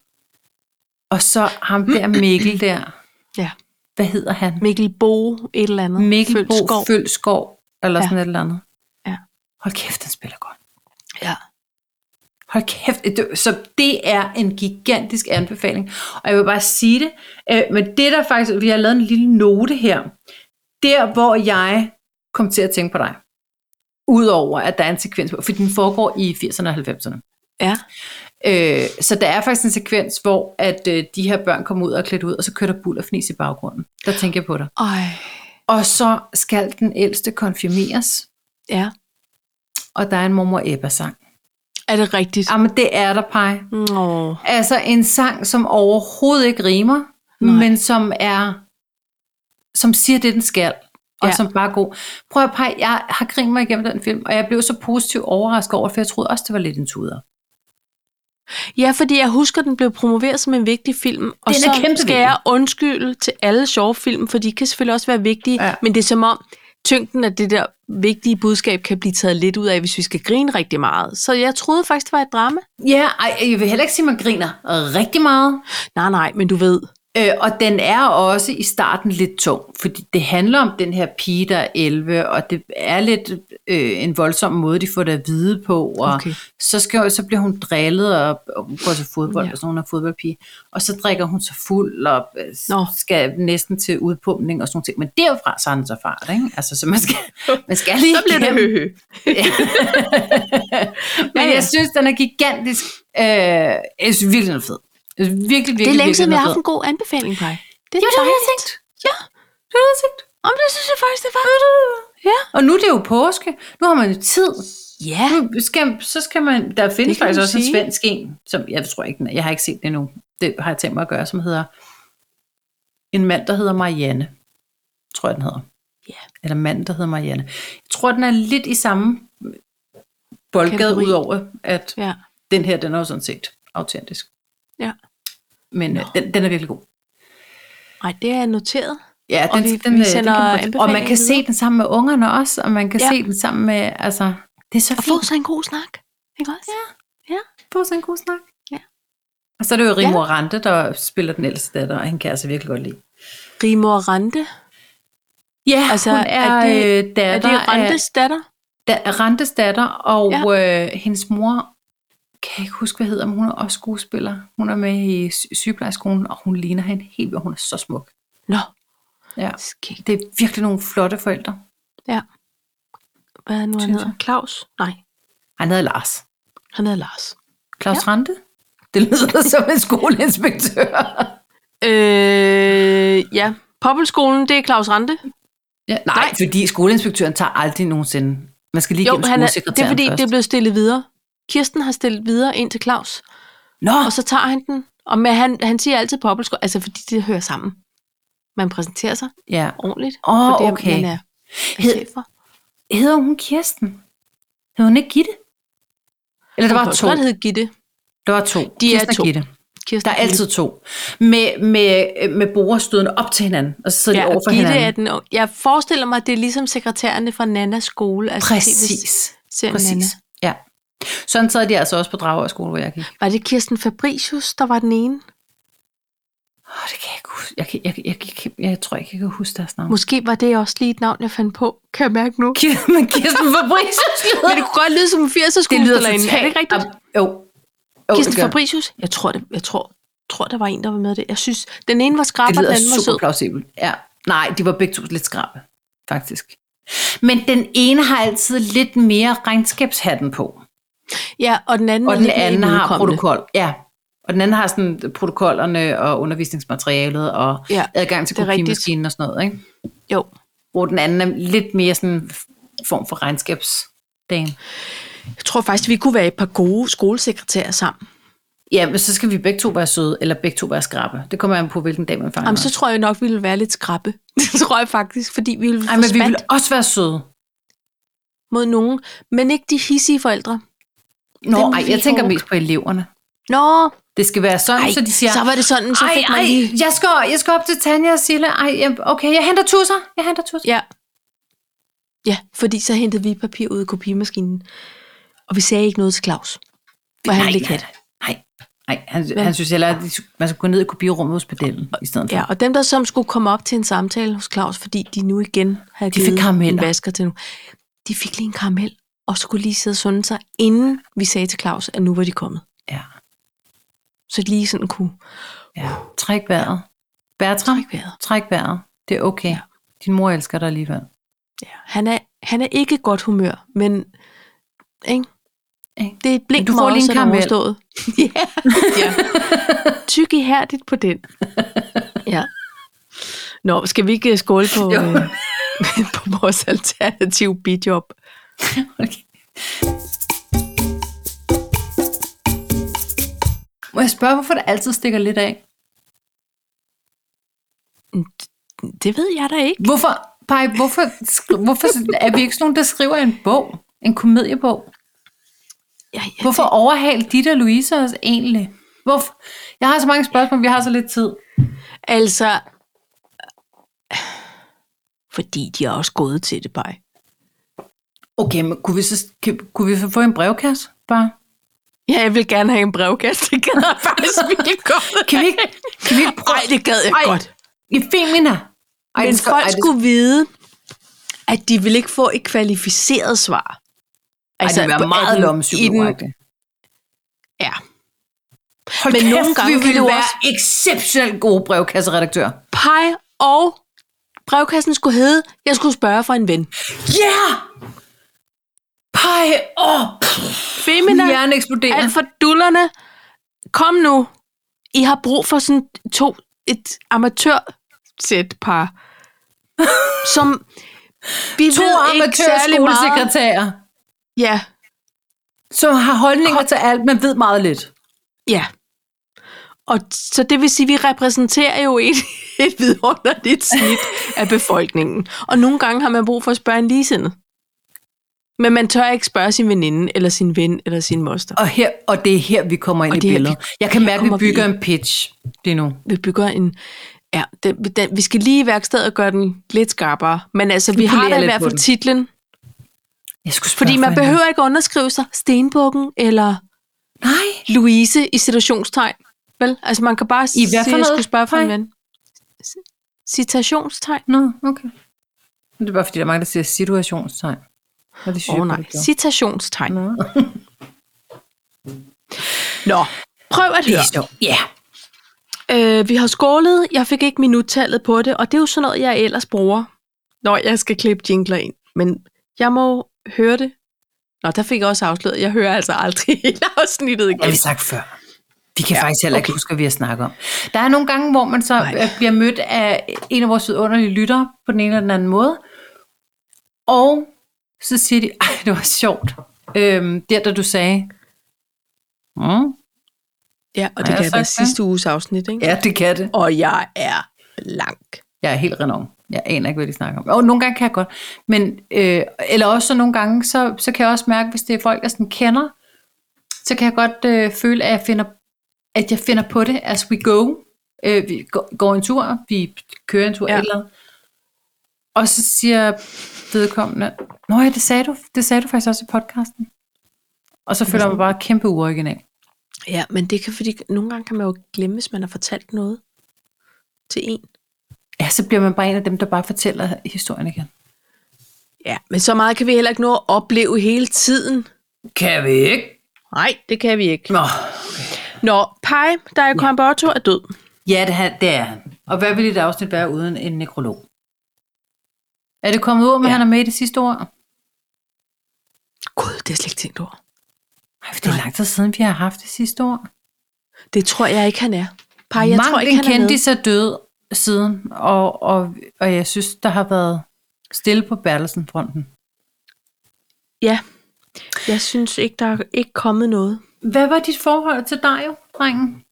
B: og så ham der Mikkel der,
A: ja.
B: hvad hedder han?
A: Mikkel Bo, et eller andet.
B: Mikkel Bo
A: Følsgaard.
B: Følskov, eller
A: Ja.
B: ja. sådan et eller andet.
A: Ja.
B: Hold kæft, den spiller godt.
A: Ja.
B: Hold kæft. det- Så det er en gigantisk anbefaling. Og jeg vil bare sige det, øh, men det der faktisk, vi har lavet en lille note her, der hvor jeg kom til at tænke på dig, udover at der er en sekvens, på, for den foregår i 80'erne og 90'erne.
A: Ja.
B: Øh, så der er faktisk en sekvens, hvor at øh, de her børn kommer ud og er klædt ud, og så kører der buller fnis i baggrunden. Der tænker jeg på dig.
A: Ej.
B: Og så skal den ældste konfirmeres,
A: Ja.
B: og der er en mormor Ebba-sang.
A: Er det rigtigt?
B: Jamen, det er der, Paj.
A: Nå.
B: Altså en sang, som overhovedet ikke rimer,
A: Nej.
B: Nej. men som er, som siger det, den skal,
A: Ja.
B: og ja. som bare er god. Prøv at pege, jeg har grinet mig igennem den film, og jeg blev så positivt overrasket over, det, for jeg troede også, det var lidt en tuder.
A: Ja, fordi jeg husker, den blev promoveret som en vigtig film. Og
B: Den er
A: så
B: kæmpe
A: skal jeg undskylde til alle sjove film, for de kan selvfølgelig også være vigtige.
B: Ja.
A: Men det er som om, tyngden af det der vigtige budskab kan blive taget lidt ud af, hvis vi skal grine rigtig meget. Så jeg troede faktisk, det var et drama.
B: Ja, ej, jeg vil heller ikke sige, at man griner rigtig meget.
A: Nej, nej, men du ved,
B: Øh, og den er også i starten lidt tung, fordi det handler om den her pige, der er 11, og det er lidt øh, en voldsom måde, de får det at vide på, og okay.
A: Okay.
B: så, skal, så bliver hun drillet og, og hun går til fodbold,
A: Ja.
B: ja. og sådan hun er fodboldpige, og så drikker hun sig fuld og øh,
A: Nå.
B: skal næsten til udpumpning og sådan noget. Men derfra så er den så fart, ikke? Altså, så man skal, man skal lige
A: Så bliver det
B: igennem.
A: høhø. Ja,
B: Men
A: ja.
B: jeg synes, den er gigantisk. Øh, jeg synes virkelig, den er fed. Jeg synes virkelig, virkelig,
A: Det er længe siden, vi
B: virkelig, den
A: har
B: fed.
A: haft en god anbefaling, Paj. Det er
B: Jo, det har jeg
A: dejligt.
B: tænkt. Ja, det har jeg tænkt.
A: Om det synes jeg faktisk, det var. Ja.
B: Og nu er det jo påske. Nu har man jo tid.
A: Ja.
B: Nu skal, så skal man... Der
A: Det
B: findes
A: kan
B: faktisk
A: man
B: også
A: sige.
B: en svensk en, som jeg tror ikke, den er- jeg har ikke set det endnu. Det har jeg tænkt mig at gøre, som hedder... En mand, der hedder Marianne. Tror jeg, den hedder.
A: Ja.
B: Eller mand, der hedder Marianne. Jeg tror, den er lidt i samme boldgade,
A: Kategori.
B: udover at
A: Ja.
B: den her, den er jo sådan set autentisk.
A: Ja.
B: Men øh, den, den er virkelig god.
A: Ej, det er noteret.
B: Ja,
A: Og
B: den,
A: vi-
B: den,
A: vi
B: øh,
A: sender
B: den kan, man- og man
A: anbefalingen
B: kan se
A: videre.
B: den sammen med ungerne også, og man kan
A: Ja.
B: ja. se den sammen med, altså, det er så
A: Og få
B: fint.
A: sig en god snak. Ikke også? Ja.
B: Få sig en god snak.
A: Ja.
B: Og så er det jo
A: Ja.
B: Rimor ja. Rante, der spiller den ældste datter, og hende kan jeg altså virkelig godt lide.
A: Rimor Rante.
B: Ja,
A: Altså,
B: altså, hun
A: er
B: er,
A: det-
B: øh, datter
A: Er det Rantes datter?
B: Af, da, Rantes datter, og ja. øh, hendes mor, kan jeg ikke huske, hvad hedder, men hun er også skuespiller. Hun er med i sy- sygeplejerskolen, og hun ligner hende helt vildt. Hun er så smuk.
A: Nå.
B: Ja.
A: Skæg.
B: Det er virkelig nogle flotte forældre.
A: Hvad er nu, han
B: Synes
A: hedder? Claus? Nej,
B: Han hedder Lars.
A: han hedder Lars.
B: Claus ja. Rante? Det lyder som en skoleinspektør.
A: Øh, ja. Poppelskolen, det er Claus Rante.
B: Ja, nej, nej, fordi skoleinspektøren tager aldrig nogensinde. Man skal lige
A: Jo,
B: gennem
A: han er,
B: skolesekretæren
A: det er fordi,
B: først.
A: det er blevet stillet videre. Kirsten har stillet videre ind til Claus,
B: Nå,
A: og så tager han den. Og med, han, han siger altid poppelsko, altså fordi det hører sammen. Man præsenterer sig
B: ja.
A: ordentligt.
B: Åh,
A: for det,
B: okay.
A: Man er, er
B: Hed-
A: chef for.
B: Hedder hun Kirsten? Hedder hun ikke Gitte? Eller der var
A: Hun
B: to.
A: kan godt hedde Gitte.
B: Der var to.
A: De er
B: Kirsten og
A: to.
B: Gitte.
A: Kirsten
B: Der er altid to. Med, med, med borgerstødende op til hinanden, og så sidder
A: Ja,
B: de
A: og
B: over for
A: Gitte er altså,
B: hinanden.
A: den, jeg forestiller mig, at det er ligesom sekretærerne fra Nannas skole. Altså
B: Præcis.
A: TV-serien
B: Præcis.
A: Nana.
B: Ja. Sådan sad de altså også på Dragør skole, hvor jeg gik.
A: Var det Kirsten Fabricius, der var den ene?
B: Åh, det kan jeg ikke huske. Jeg, kan, jeg, jeg, jeg, jeg, jeg tror ikke, jeg kan huske deres navn.
A: Måske var det også lige et navn, jeg fandt på. Kan jeg mærke nu?
B: Kirsten, Kirsten Fabricius
A: Men det kunne godt lyde som en 80'er skuespillerinde. Er det ikke rigtigt?
B: ab- Jo. jo
A: Kirsten
B: det gør det.
A: Fabricius? Jeg tror, det, jeg tror, tror, der var en, der var med i det. Jeg synes, den ene var
B: Det
A: skrab, og den
B: lyder
A: anden var sød.
B: super plausibelt. Ja. Nej, de var begge to lidt skrabe, faktisk. Men den ene har altid lidt mere regnskabshatten på,
A: Ja, og den anden,
B: og
A: er
B: den
A: lidt mere
B: anden har
A: imødekommende.
B: protokol. Ja, og den anden har sådan protokollerne og undervisningsmaterialet og
A: Ja,
B: ja, adgang til
A: det er rigtigt.
B: kopimaskinen og sådan noget. Ikke?
A: Jo.
B: Hvor den anden er lidt mere sådan en f- form for regnskabsdame.
A: Jeg tror faktisk, vi kunne være et par gode skolesekretærer sammen.
B: Ja, men så skal vi begge to være søde, eller begge to være skrabe. Det kommer an på, hvilken dag man fanger.
A: Jamen, så tror jeg nok, vi ville være lidt skrabbe. Det tror jeg faktisk, fordi vi ville
B: Ej,
A: få
B: men vi vil
A: spat
B: også være søde.
A: mod nogen. Men ikke de hissige forældre.
B: Nå,
A: Dem
B: ej,
A: vil
B: jeg
A: vi
B: tænker
A: håbe.
B: mest på eleverne.
A: Nå,
B: Det skal være sådan,
A: ej,
B: så de siger,
A: så var det sådan, så
B: ej,
A: fik man
B: ej,
A: lige...
B: jeg skal, jeg skal op til Tanja og Sille. Ej, jeg- okay, jeg henter tusser. Jeg henter tusser.
A: Ja. Ja, fordi så hentede vi papir ud af kopimaskinen. Og vi sagde ikke noget til Claus. Hvor han
B: nej,
A: ville ikke have det.
B: nej, nej, han, han synes heller, at de skulle- man skulle gå ned i kopierummet hos pedellen i stedet for.
A: Ja, og dem, der som skulle komme op til en samtale hos Claus, fordi de nu igen havde
B: De fik
A: givet en
B: karameller.
A: vasker til nu. De fik lige en karamel, og skulle lige sidde og sunde sig, inden vi sagde til Claus, at nu var de kommet.
B: Ja,
A: Så de lige sådan kunne
B: ja. Træk vejret. Bertram,
A: trække vejret.
B: træk vejret. Det er okay. Din mor elsker dig alligevel.
A: Ja. Han, er, han er ikke i godt humør, men ikke?
B: Ikke?
A: det er et blink,
B: Men du får
A: med
B: lige
A: os,
B: en
A: så er det
B: karamel.
A: overstået. ja. ja. Tyk ihærdigt på den. Ja. Nå, skal vi ikke øh, skåle på,
B: Jo.
A: øh, på vores alternative bidjob?
B: Okay. Må jeg spørge, hvorfor det altid stikker lidt af?
A: Det ved jeg da ikke.
B: Hvorfor, Paj, hvorfor, skri- hvorfor er vi ikke sådan nogen, der skriver en bog? En komediebog?
A: Jeg, jeg,
B: Hvorfor overhalte dit og Louise os egentlig? Hvorfor? Jeg har så mange spørgsmål, vi har så lidt tid.
A: Altså, øh, fordi de er også gået til det, bare.
B: Okay, men kunne vi så, kan- kunne vi så få en brevkasse? Bare?
A: Ja, jeg vil gerne have en brevkasse. Det kan jeg faktisk virkelig godt.
B: Kan vi ikke, Kan vi ikke prøve?
A: Nej, det gad jeg
B: Ej,
A: godt.
B: I Femina. Ej,
A: Men
B: det skal-
A: folk
B: ej, det-
A: skulle vide, at de ville ikke få et kvalificeret svar. Altså,
B: Ej, det vil
A: på
B: være meget
A: anden-
B: lommepsykologagtigt.
A: Ja.
B: Hold
A: Men
B: kæft,
A: nogle gange
B: vi
A: kan
B: ville
A: det jo
B: være exceptionelt gode brevkasseredaktører.
A: Pej og brevkassen skulle hedde, jeg skulle spørge for en ven.
B: Ja! Pej op!
A: Femina,
B: Min
A: ja,
B: hjerne eksploderer.
A: alt for dullerne. Kom nu. I har brug for sådan to, et amatørsæt par. Som vi
B: to
A: ved ikke særlig meget.
B: amatørskolesekretærer,
A: Ja,
B: som har holdninger til alt, men ved meget lidt.
A: ja. Og t- så det vil sige, at vi repræsenterer jo et, et vidunderligt snit af befolkningen. Og nogle gange har man brug for at spørge en ligesindet. Men man tør ikke spørge sin veninde, eller sin ven, eller sin moster.
B: Og, her, og det er her, vi kommer ind
A: Og
B: i
A: det er her,
B: billedet. Jeg kan mærke, at vi
A: kommer vi
B: bygger
A: ind.
B: en pitch lige nu.
A: vi bygger en... Ja, den, den, vi skal lige i værkstedet gøre den lidt skarpere. Men altså, vi
B: polerer
A: har da i
B: lidt
A: hvert
B: på
A: fald
B: den.
A: titlen.
B: Jeg skulle spørge
A: Fordi
B: for
A: man
B: en
A: behøver ikke underskrive sig Stenbukken eller
B: anden. Nej.
A: Louise i situationstegn. Vel? Altså, man kan bare
B: I hvad
A: sige,
B: for
A: jeg
B: noget?
A: skal spørge for en
B: Hej.
A: ven. C- Citationstegn?
B: Nå, okay. Men Det er bare, fordi der er mange, der siger situationstegn. Og det synes
A: Åh oh,
B: jeg,
A: nej,
B: godt, det gjorde.
A: citationstegn.
B: Nå.
A: Nå, prøv at
B: Det
A: høre.
B: er sjovt. Ja.
A: Øh, vi har skålet, jeg fik ikke minuttallet på det, og det er jo sådan noget, jeg ellers bruger, når jeg skal klippe jingler ind. Men jeg må jo høre det. Nå, der fik jeg også afsløret, jeg hører altså aldrig hele afsnittet
B: Det har
A: igen.
B: vi sagt før. Vi kan ja, faktisk heller ikke huske, hvad vi har snakket om. Der er nogle gange, hvor man så
A: Nej.
B: øh, bliver mødt af en af vores underlige lyttere på den ene eller den anden måde. Og så siger de, ej, det var sjovt. Øhm, der, da du sagde. Mm.
A: Ja, og
B: Har
A: det kan
B: jeg
A: være
B: sagt det?
A: sidste uges afsnit, ikke?
B: Ja, det kan det.
A: Og jeg er blank.
B: Jeg er helt renom. Jeg aner ikke, hvad de snakker om. Og nogle gange kan jeg godt. Men, øh, eller også så nogle gange, så, så kan jeg også mærke, hvis det er folk, jeg sådan kender, så kan jeg godt øh, føle, at jeg, finder, at jeg finder på det as we go. Øh, vi går, går en tur, vi kører en tur
A: Ja.
B: ja. eller andet. Og så siger vedkommende, Nå ja, det sagde, du, det sagde du faktisk også i podcasten. Og så føler jeg mig bare kæmpe uoriginal.
A: Ja, men det kan, fordi nogle gange kan man jo glemme, hvis man har fortalt noget til en.
B: Ja, så bliver man bare en af dem, der bare fortæller historien igen.
A: Ja, men så meget kan vi heller ikke nå at opleve hele tiden.
B: Kan vi ikke?
A: Nej, det kan vi ikke.
B: Nå,
A: Nå, Pai, der er Combato, er død.
B: Ja, det, han, det er han. Og hvad ville et afsnit være uden en nekrolog? Er det kommet ud, men
A: Ja.
B: ja. han er med i det sidste år? Nej,
A: Gud, det er slet ikke tænkt over.
B: for det er lang tid siden, vi har haft det sidste år.
A: Det tror jeg ikke, han er. Par, jeg
B: Mange
A: tror ikke, han er
B: kendte
A: med.
B: sig død siden, og, og, og jeg synes, der har været stille på Bertelsen-fronten.
A: Ja. Jeg synes ikke, der er ikke kommet noget.
B: Hvad var dit forhold til dig, jo, drengen?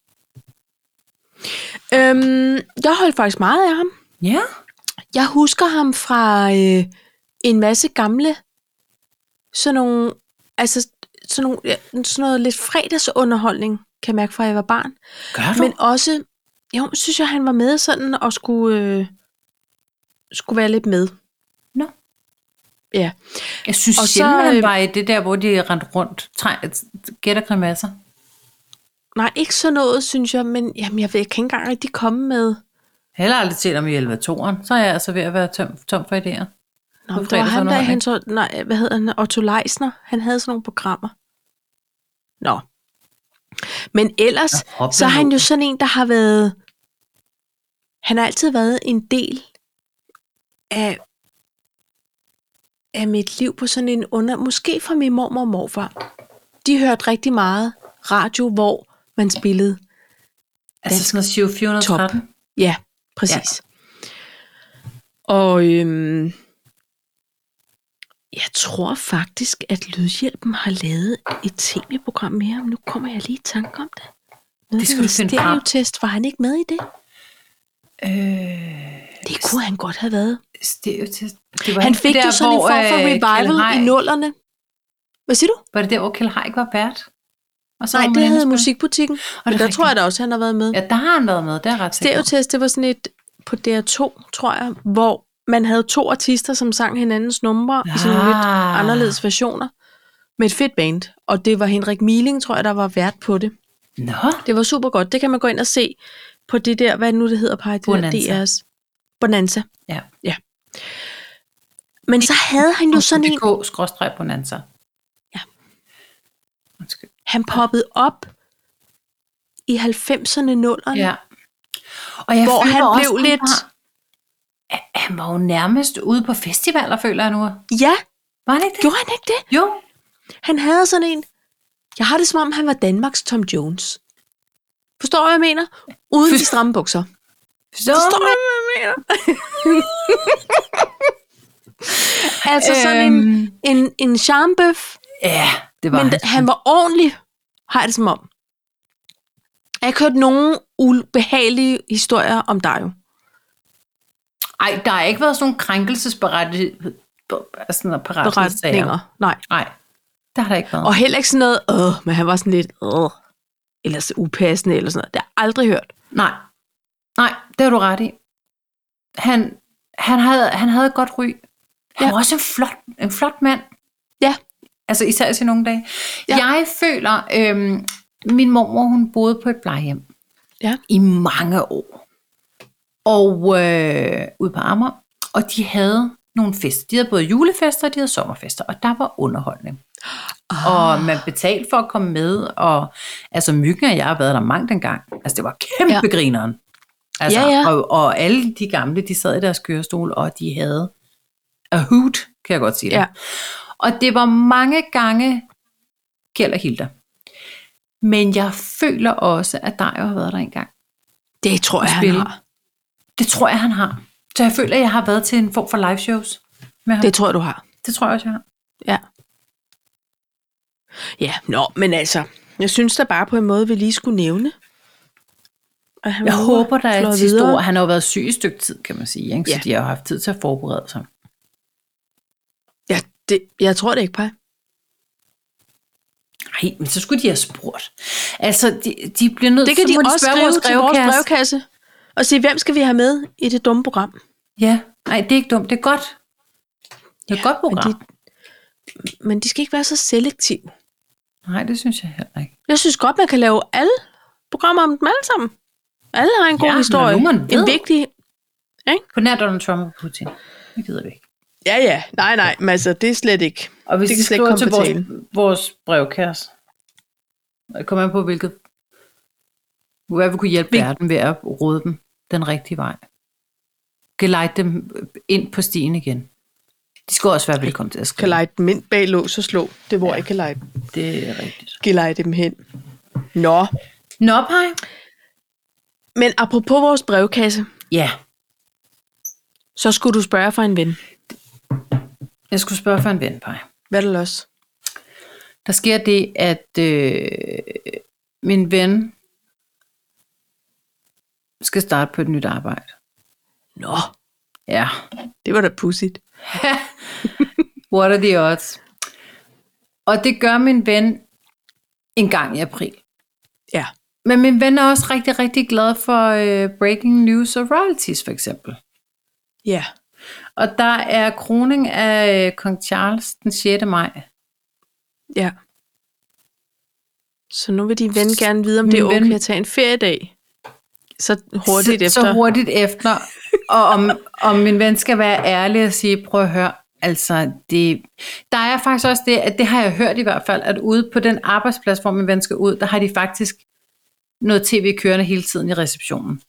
A: Øhm, jeg holdt faktisk meget af ham.
B: Ja.
A: Jeg husker ham fra øh, en masse gamle, sådan nogle, altså sådan, nogle, ja, sådan noget lidt fredagsunderholdning, kan jeg mærke, fra jeg var barn.
B: Gør
A: Men også, jo, synes jeg, han var med sådan og skulle, øh, skulle være lidt med.
B: Nå.
A: Ja.
B: jeg synes
A: og
B: og
A: så,
B: sjældent, så, øhm,
A: øh,
B: han var i det der, hvor de rendte rundt, træ- gætter grimasser.
A: Nej, ikke sådan noget, synes jeg, men jamen, jeg, ved, jeg kan ikke engang rigtig komme med.
B: Jeg har heller aldrig set ham i elevatoren, så er jeg altså ved at være tom, tom for idéer.
A: Nå,
B: på
A: men det var ham, der
B: fredagsunderholdning.
A: han så, nej, hvad hedder han, Otto Leisner, han havde sådan nogle programmer. Nå. Men ellers,
B: Nå, hopla
A: så er han
B: nu.
A: jo sådan en, der har været, han har altid været en del af, af mit liv på sådan en under, måske fra min mormor og morfar. De hørte rigtig meget radio, hvor man spillede
B: Altså sådan noget Shio 413.
A: Top. Ja, præcis. Ja. Og øhm, jeg tror faktisk, at Lydhjælpen har lavet et tv-program med ham. Nu kommer jeg lige i tanke om det. Noget
B: Det skal du finde frem.
A: Stereotest, var han ikke med i det?
B: Øh,
A: Det kunne han godt have været.
B: stereotest. Det var
A: Han
B: ikke
A: fik
B: der,
A: jo sådan en
B: hvor,
A: form for
B: øh,
A: revival
B: Kjeld Haik-
A: i nullerne. Hvad siger du?
B: Var det der, hvor Kjell Haik var vært? Og så
A: Nej,
B: var man
A: det
B: inde og
A: havde
B: spille.
A: musikbutikken.
B: er
A: Og der
B: rigtigt.
A: tror jeg da også, han har været med.
B: Ja, der har han været med. Det er jeg ret sikker på.
A: Stereotest, det var sådan et på DR2, tror jeg, hvor man havde to artister, som sang hinandens numre ja. i sådan nogle lidt
B: Ah.
A: anderledes versioner med et fedt band. Og det var Henrik Miling, tror jeg, der var vært på det.
B: Nå,
A: Det var super godt. Det kan man gå ind og se på det der, hvad nu det hedder, på det
B: Bonanza.
A: der DR's. Bonanza.
B: Ja.
A: ja. Men så havde han jo sådan en,
B: DK skråstreg bonanza.
A: Ja.
B: Undskyld.
A: han poppede op i 90'erne, 0'erne, ja.
B: Ja. Og jeg
A: hvor
B: føler
A: han
B: også,
A: blev lidt...
B: Var, han var jo nærmest ude på festivaler, føler jeg nu.
A: Ja,
B: Var han ikke det?
A: gjorde han ikke det?
B: Jo.
A: Han havde sådan en... Jeg har det som om, han var Danmarks Tom Jones. Forstår du, hvad jeg mener? Uden de stramme bukser.
B: Så,
A: Forstår du, hvad jeg mener? altså sådan en,
B: Øhm.
A: en, en charmbøf,
B: Ja, det var
A: men
B: Men
A: da- han var ordentlig, har jeg det som om. Jeg har hørt nogle ubehagelige historier om dig jo.
B: Ej, der har ikke været sådan nogle krænkelsesberettigheder.
A: Beretninger. Nej.
B: Nej, der har der ikke været.
A: Og heller ikke sådan noget, Åh, men han var sådan lidt, Åh, eller så upassende, eller sådan noget. Det har jeg aldrig hørt.
B: Nej. Nej, det har du ret i. Han, han, havde, han havde et godt ry. Han
A: Ja.
B: ja. var også en flot, en flot mand.
A: Ja.
B: Altså især i nogle dage.
A: Ja.
B: Ja. Jeg føler, øhm, min mormor hun boede på et plejehjem.
A: Ja.
B: I mange år. Og øh, ude på Amager. Og de havde nogle fester. De havde både julefester og de havde sommerfester. Og der var underholdning.
A: Ah.
B: Og man betalte for at komme med, og altså Myggen og jeg har været der mange dengang. Altså det var kæmpe ja. grineren. Altså,
A: Ja, ja.
B: Og, og alle de gamle, de sad i deres kørestol, og de havde a hoot, kan jeg godt sige det.
A: Ja.
B: Og det var mange gange Kjeld og Hilda. Men jeg føler også, at dig har været der engang.
A: Det tror jeg, han
B: Spille.
A: har.
B: Det tror jeg, han har. Så jeg føler, at jeg har været til en form for live shows med ham.
A: Det
B: Det,
A: tror jeg, du har.
B: det tror jeg også, jeg har.
A: Ja. Ja, nå, men altså, jeg synes da bare på en måde, vi lige skulle nævne. at han
B: Jeg
A: var
B: håber, der er
A: slået
B: et sidste ord. Han har jo været syg et stykke tid, kan man sige. Ikke? Så
A: Ja.
B: ja. de har jo haft tid til at forberede sig.
A: Ja, det, jeg tror det ikke, Paj.
B: Nej, men så skulle de have spurgt. Altså, de, de bliver nødt
A: Det kan
B: så
A: de
B: må
A: også
B: spørge
A: skrive til vores
B: brevkasse.
A: brevkasse. Og sige, hvem skal vi have med i det dumme program?
B: Ja, nej, det er ikke dumt. Det er godt. Det er et godt program.
A: Men de, men de skal ikke være så selektive.
B: Nej, det synes jeg heller ikke.
A: Jeg synes godt, man kan lave alle programmer om dem alle sammen. Alle har en god
B: Ja, men
A: historie.
B: nu man ved.
A: en vigtig...
B: På nær Donald Trump og Putin. Det gider vi ikke.
A: Ja, ja. Nej, nej. Men altså, det er slet ikke.
B: Og hvis
A: Det
B: det
A: kan
B: de
A: slet ikke
B: skriver til
A: komme på
B: vores, vores brevkasse, jeg kommer an på, hvilket, hvad vi kunne hjælpe
A: Vi-
B: verden ved at råde dem den rigtige vej. Gelejte dem ind på stien igen. De skal også være velkommen til at
A: Kan
B: skrive.
A: lege dem ind bag lås og slå. Det er, hvor ja. jeg kan lege,
B: Det er rigtigt.
A: kan lege dem hen. Nå.
B: Nå, Paj.
A: Men apropos vores brevkasse,
B: Ja,
A: så skulle du spørge for en ven.
B: jeg skulle spørge for en ven, Paj.
A: Hvad er det også?
B: Der sker det, at øh, min ven skal starte på et nyt arbejde.
A: Nå,
B: Ja.
A: det var da pudsigt.
B: What are the odds? Og det gør min ven en gang i april.
A: Ja.
B: Men min ven er også rigtig, rigtig glad for øh, breaking news og royalties for eksempel.
A: Ja.
B: Og der er kroning af øh, kong Charles den 6. maj.
A: Ja. Så nu vil din ven gerne vide, om det er
B: Min ven-
A: okay at tage en feriedag. Så hurtigt
B: så,
A: efter.
B: Så hurtigt efter. Og om, om min ven skal være ærlig og sige, prøv at høre, altså det, der er faktisk også det, at det har jeg hørt i hvert fald, at ude på den arbejdsplads, hvor min ven skal ud, der har de faktisk noget tv kørende hele tiden i receptionen.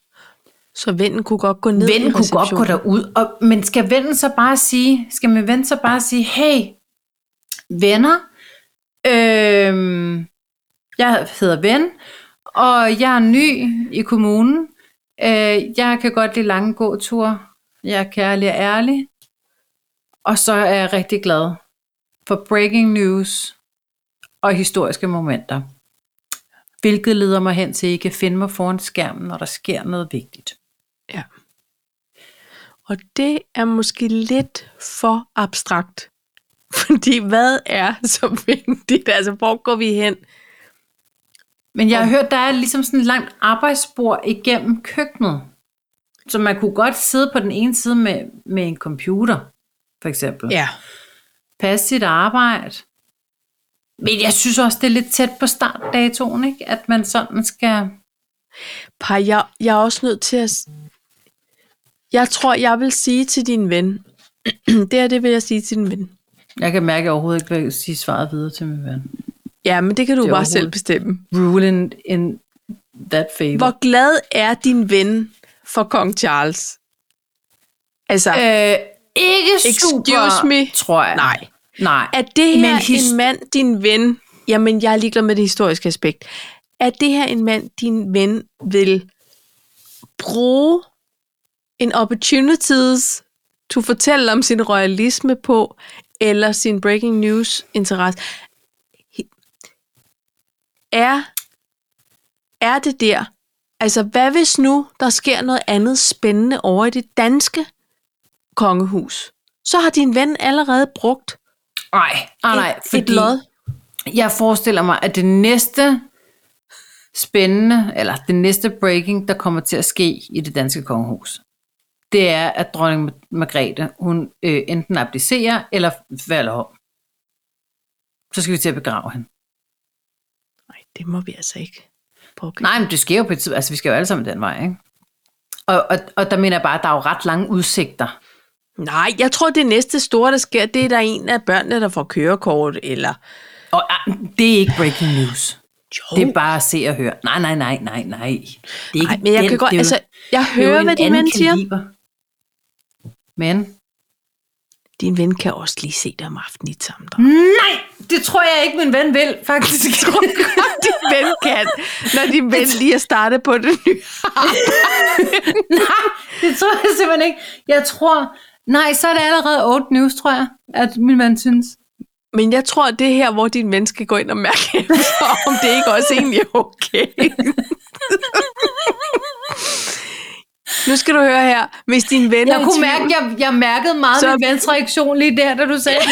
A: Så vennen kunne godt gå ned i
B: Vennen kunne godt gå
A: receptionen.
B: derud, og, men skal vennen så bare sige, skal min ven så bare sige, hey, venner, øhm, jeg hedder Ven, og jeg er ny i kommunen. Øh, jeg kan godt lide lange gåture. Jeg er kærlig og ærlig. Og så er jeg rigtig glad for breaking news og historiske momenter. Hvilket leder mig hen til, at I kan finde mig foran skærmen, når der sker noget vigtigt.
A: Ja. Og det er måske lidt for abstrakt. Fordi hvad er så vigtigt? Altså, hvor går vi hen?
B: Men jeg har hørt, der er ligesom sådan et langt arbejdsspor igennem køkkenet. Så man kunne godt sidde på den ene side med, med en computer, for eksempel.
A: Ja.
B: Passe sit arbejde. Men jeg synes også, det er lidt tæt på startdatoen, ikke? At man sådan skal...
A: Par, jeg, jeg er også nødt til at... s- Jeg tror, jeg vil sige til din ven. det her, det vil jeg sige til din ven.
B: Jeg kan mærke, at jeg overhovedet ikke vil sige svaret videre til min ven.
A: Ja, men det kan du
B: Det
A: det
B: er
A: bare
B: overhovedet-
A: selv bestemme.
B: Rule in, in that favor.
A: Hvor glad er din ven for kong Charles? Altså, øh,
B: Øh, ikke
A: Excuse
B: super,
A: me.
B: tror jeg.
A: Nej.
B: Nej.
A: er det her
B: men his-
A: en mand, din ven... Jamen, jeg er ligeglad med det historiske aspekt. Er det her en mand, din ven vil bruge en opportunities to fortælle om sin royalisme på, eller sin breaking news interesse? er, er det der? Altså, hvad hvis nu der sker noget andet spændende over i det danske kongehus? Så har din ven allerede brugt
B: Nej, Ah, nej, nej,
A: et, et
B: fordi
A: lod.
B: jeg forestiller mig, at det næste spændende, eller det næste breaking, der kommer til at ske i det danske kongehus, det er, at dronning Ma- Margrethe, hun øh, enten abdicerer, eller falder om. Så skal vi til at begrave hende.
A: Nej, det må vi altså ikke bruge.
B: Nej, men det sker jo på et tid. Altså, vi skal jo alle sammen den vej, ikke? Og, og, og der mener jeg bare, at der er jo ret lange udsigter.
A: Nej, jeg tror, det næste store, der sker, det er, der er en af børnene, der får kørekort, eller...
B: Og ah, det er ikke breaking news.
A: Jo,
B: Det er bare at se og høre. Nej, nej, nej, nej, nej. Det er ikke
A: nej, men jeg
B: den,
A: kan godt...
B: det er jo-
A: Altså, jeg
B: det er jo
A: hører,
B: en
A: hvad din
B: anden
A: ven siger.
B: kaliber. Men?
A: Din ven kan også lige se dig om aftenen i et sammendrag.
B: Nej, det tror jeg ikke, min ven vil, faktisk.
A: din ven kan, når din ven lige er startet på det nye.
B: nej, det tror jeg simpelthen ikke. Jeg tror... Nej, så er det allerede old news, tror jeg, at min ven synes.
A: Men jeg tror, det er her, hvor din ven skal gå ind og mærke efter, om det ikke også egentlig er okay. nu skal du høre her. Hvis din ven er
B: Jeg
A: i
B: kunne
A: tvivl,
B: mærke, jeg, jeg mærkede meget
A: Så-
B: så... min vens reaktion lige der, da du sagde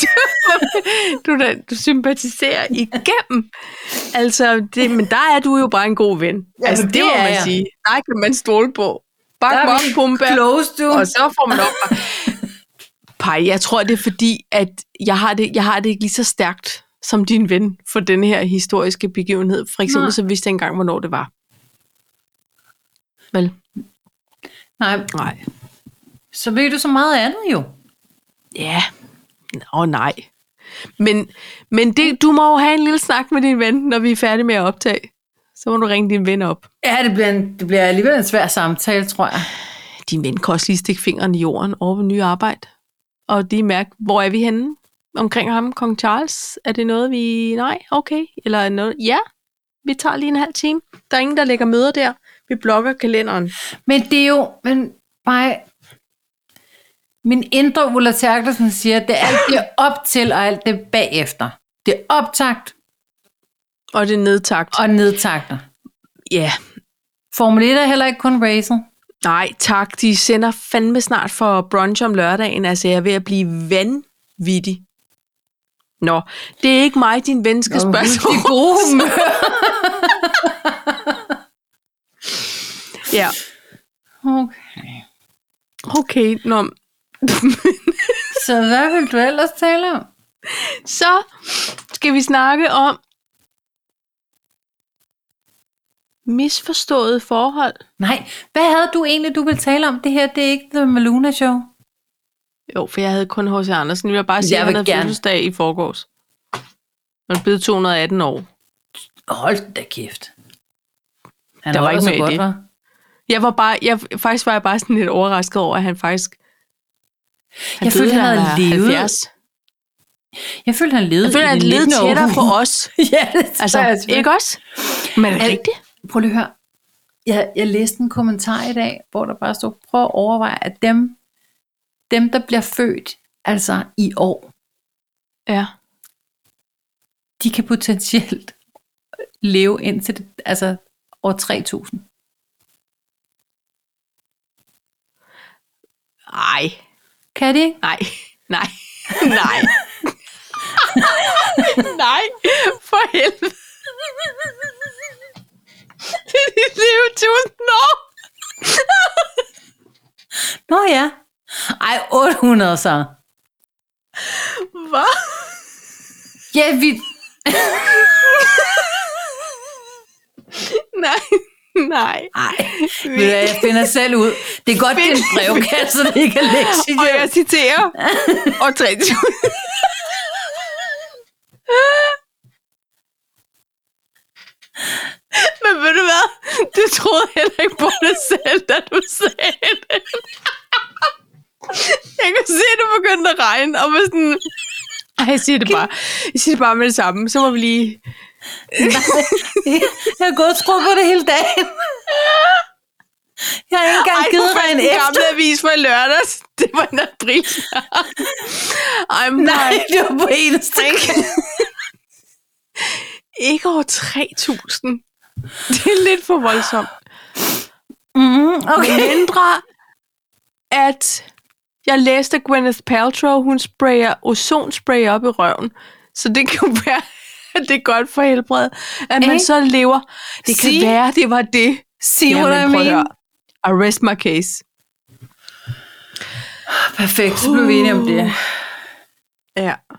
B: det.
A: du, da, du sympatiserer igennem. Altså, det, men der er du jo bare en god ven.
B: Ja,
A: altså,
B: men
A: det,
B: det
A: må
B: er
A: man
B: jeg.
A: sige. Der kan man stole på.
B: Der
A: Bak mig
B: er
A: op,
B: vi
A: pumpe.
B: Close, du.
A: Og så får man op. Pej, jeg tror, det er fordi, at jeg har det, jeg har det ikke lige så stærkt som din ven for den her historiske begivenhed. For eksempel,
B: Nej.
A: så vidste jeg engang, hvornår det var. Vel?
B: Nej,
A: Nej.
B: så ved du så meget andet jo.
A: Ja. Åh, nej. Men, men det, du må jo have en lille snak med din ven, når vi er færdige med at optage. Så må du ringe din ven op.
B: Ja, det bliver, en, det bliver alligevel en svær samtale, tror jeg.
A: Din ven kan også lige stikke fingeren i jorden over ved nye arbejde. Og lige mærke, hvor er vi henne omkring ham, kong Charles? Er det noget, vi... Nej, okay. Eller er det noget... Ja, vi tager lige en halv time. Der er ingen, der lægger møder der. Vi blokker kalenderen.
B: Men det er jo, men bare, min indre Ulla Terkelsen siger, at det er alt det op til, og alt det bagefter. Det er optakt
A: Og det er nedtagt.
B: og nedtakter.
A: Ja,
B: Formel 1 er heller ikke kun racet.
A: nej tak. De sender fandme snart for brunch om lørdagen. Altså, jeg er ved at blive vanvittig. Nå, det er ikke mig, din ven skal
B: Nå,
A: spørge.
B: husk
A: Det gode humør. ja.
B: Okay.
A: Okay, nå.
B: Så hvad vil du ellers tale om?
A: Så skal vi snakke om misforståede forhold.
B: Nej, hvad havde du egentlig, du ville tale om? Det her, det er ikke The Maluna Show.
A: Jo, for jeg havde kun H.C. Andersen. Jeg vil bare sige,
B: Jeg
A: at
B: vil
A: han havde
B: gerne.
A: fødselsdag i forgårs. Han er blevet 218 år.
B: Hold da kæft. Han
A: Der var
B: holder
A: ikke
B: sig
A: med i det.
B: hva'?
A: Jeg var bare, jeg, faktisk var jeg bare sådan lidt overrasket over, at han faktisk... Han
B: Jeg følte,
A: døde,
B: han
A: da
B: havde
A: var
B: levet.
A: 70.
B: Jeg følte, han levede
A: Jeg følte,
B: i
A: han
B: det
A: levede
B: 19.
A: tættere på
B: århundrede.
A: os.
B: ja, det
A: Altså,
B: tror jeg selvfølgelig.
A: ikke også? Men er det
B: Al-
A: rigtigt?
B: Prøv lige at høre. Jeg, jeg læste en kommentar i dag, hvor der bare stod, prøv at overveje, at dem, dem der bliver født, altså i år,
A: Ja.
B: de kan potentielt leve indtil det, altså år 3000.
A: Ej.
B: Kan de ikke?
A: Nej, nej, nej. nej, for helvede. Det er dit liv i tusind år.
B: Nå ja. Ej, 800 så.
A: Hvad?
B: Ja, vi...
A: Nej, Nej.
B: Nej, jeg finder selv ud. Det er godt, det er en brevkasse, der ikke er lektie.
A: Og jeg citerer. og 3000. Men ved du hvad? Du troede heller ikke på det selv, da du sagde det. Jeg kunne se, at det begyndte at regne, og var sådan... Ej, jeg siger det bare. Jeg siger det bare med det samme. Så må vi lige...
B: Jeg har gået og troet på det hele dagen. Jeg har ikke engang
A: Ej,
B: givet dig en
A: den
B: efter.
A: gamle avis fra i lørdags. Det var en april. Ej, men
B: Nej, det var på eneste.
A: ikke over 3000. Det er lidt for voldsomt.
B: Mm, okay.
A: Okay. Mindre, at jeg læste, at Gwyneth Paltrow, hun sprayer ozonspray op i røven. Så det kan være, at det er godt for helbredet, at man
B: Ikke?
A: så lever. Det kan
B: Sige-
A: være, det var det.
B: See what I
A: Jamen, prøv at
B: mean?
A: høre. I rest my case.
B: Perfekt, så blev vi enige om det.
A: Ja.
B: Uh.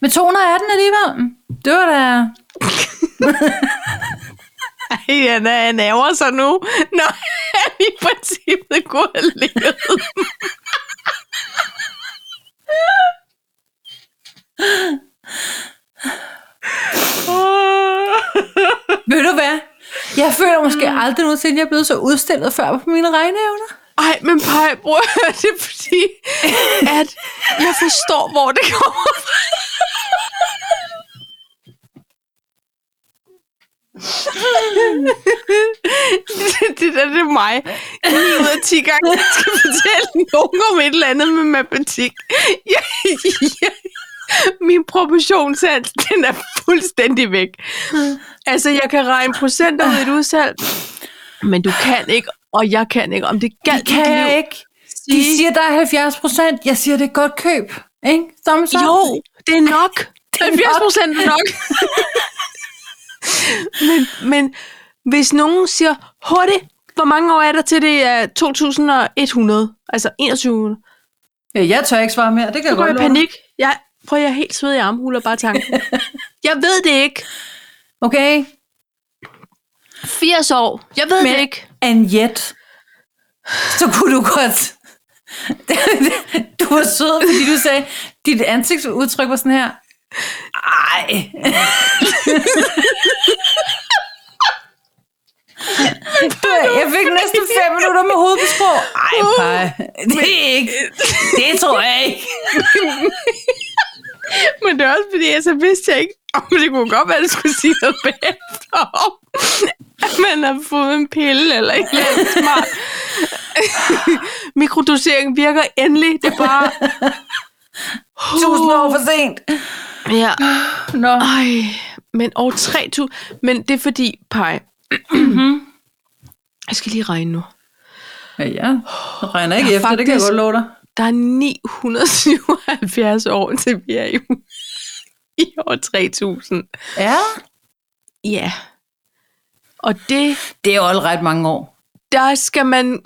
B: Men 218 alligevel. Det var da...
A: Ej, han, er, han ærger sig nu, når han i princippet kunne have levet.
B: Ved du hvad? Mm. Jeg føler måske aldrig nogensinde, at jeg er blevet så udstillet før på mine regneevner.
A: Ej, men Paj, bror, det er fordi, at jeg forstår, hvor det kommer fra. det, det, der, det er mig. 9 ud af 10 gange, jeg skal fortælle nogen om et eller andet med matematik. Jeg, jeg, min proportionssats, den er fuldstændig væk. Altså, jeg kan regne procenter ud i et udsalg, men du kan ikke, og jeg kan ikke, om det galt
B: Det kan
A: mit liv.
B: jeg ikke. De
A: Sige-
B: siger, der er 70 procent. Jeg siger, det er et godt køb. Ikke? Thumbs up.
A: Jo, det er nok. 70 procent er nok. men, men hvis nogen siger, hurtigt, hvor mange år er der til det er 2100, altså 2100,
B: Ja, jeg tør ikke svare mere. Det kan
A: så
B: jeg
A: går jeg
B: godt
A: i
B: love dig.
A: panik. Jeg, prøv, jeg er helt sved i armhuler bare af tanken. jeg ved det ikke.
B: Okay?
A: 80 år. Jeg ved
B: Men-
A: det ikke.
B: And yet. Så kunne du godt... du var sød, fordi du sagde, dit ansigtsudtryk var sådan her. Ej. Jeg fik næsten fem minutter med hovedet på sprog. Ej, pej. Det er ikke. Det tror jeg ikke.
A: Men det er også fordi, jeg så vidste jeg ikke, om det kunne godt være, at du skulle sige noget bagefter om, at man har fået en pille eller ikke andet smart. Mikrodosering virker endelig. Det er bare...
B: Tusind år for sent.
A: Ja.
B: Nå.
A: Ej, men over 3.000... Men det er fordi, Paj... jeg skal lige regne nu.
B: Ja, ja. Jeg regner ikke
A: Ja,
B: efter, det kan jeg
A: faktisk.
B: godt love dig.
A: Der er 977 år til vi er i, i år 3000.
B: Ja.
A: Ja. Og det
B: Det er jo også ret mange år.
A: der skal man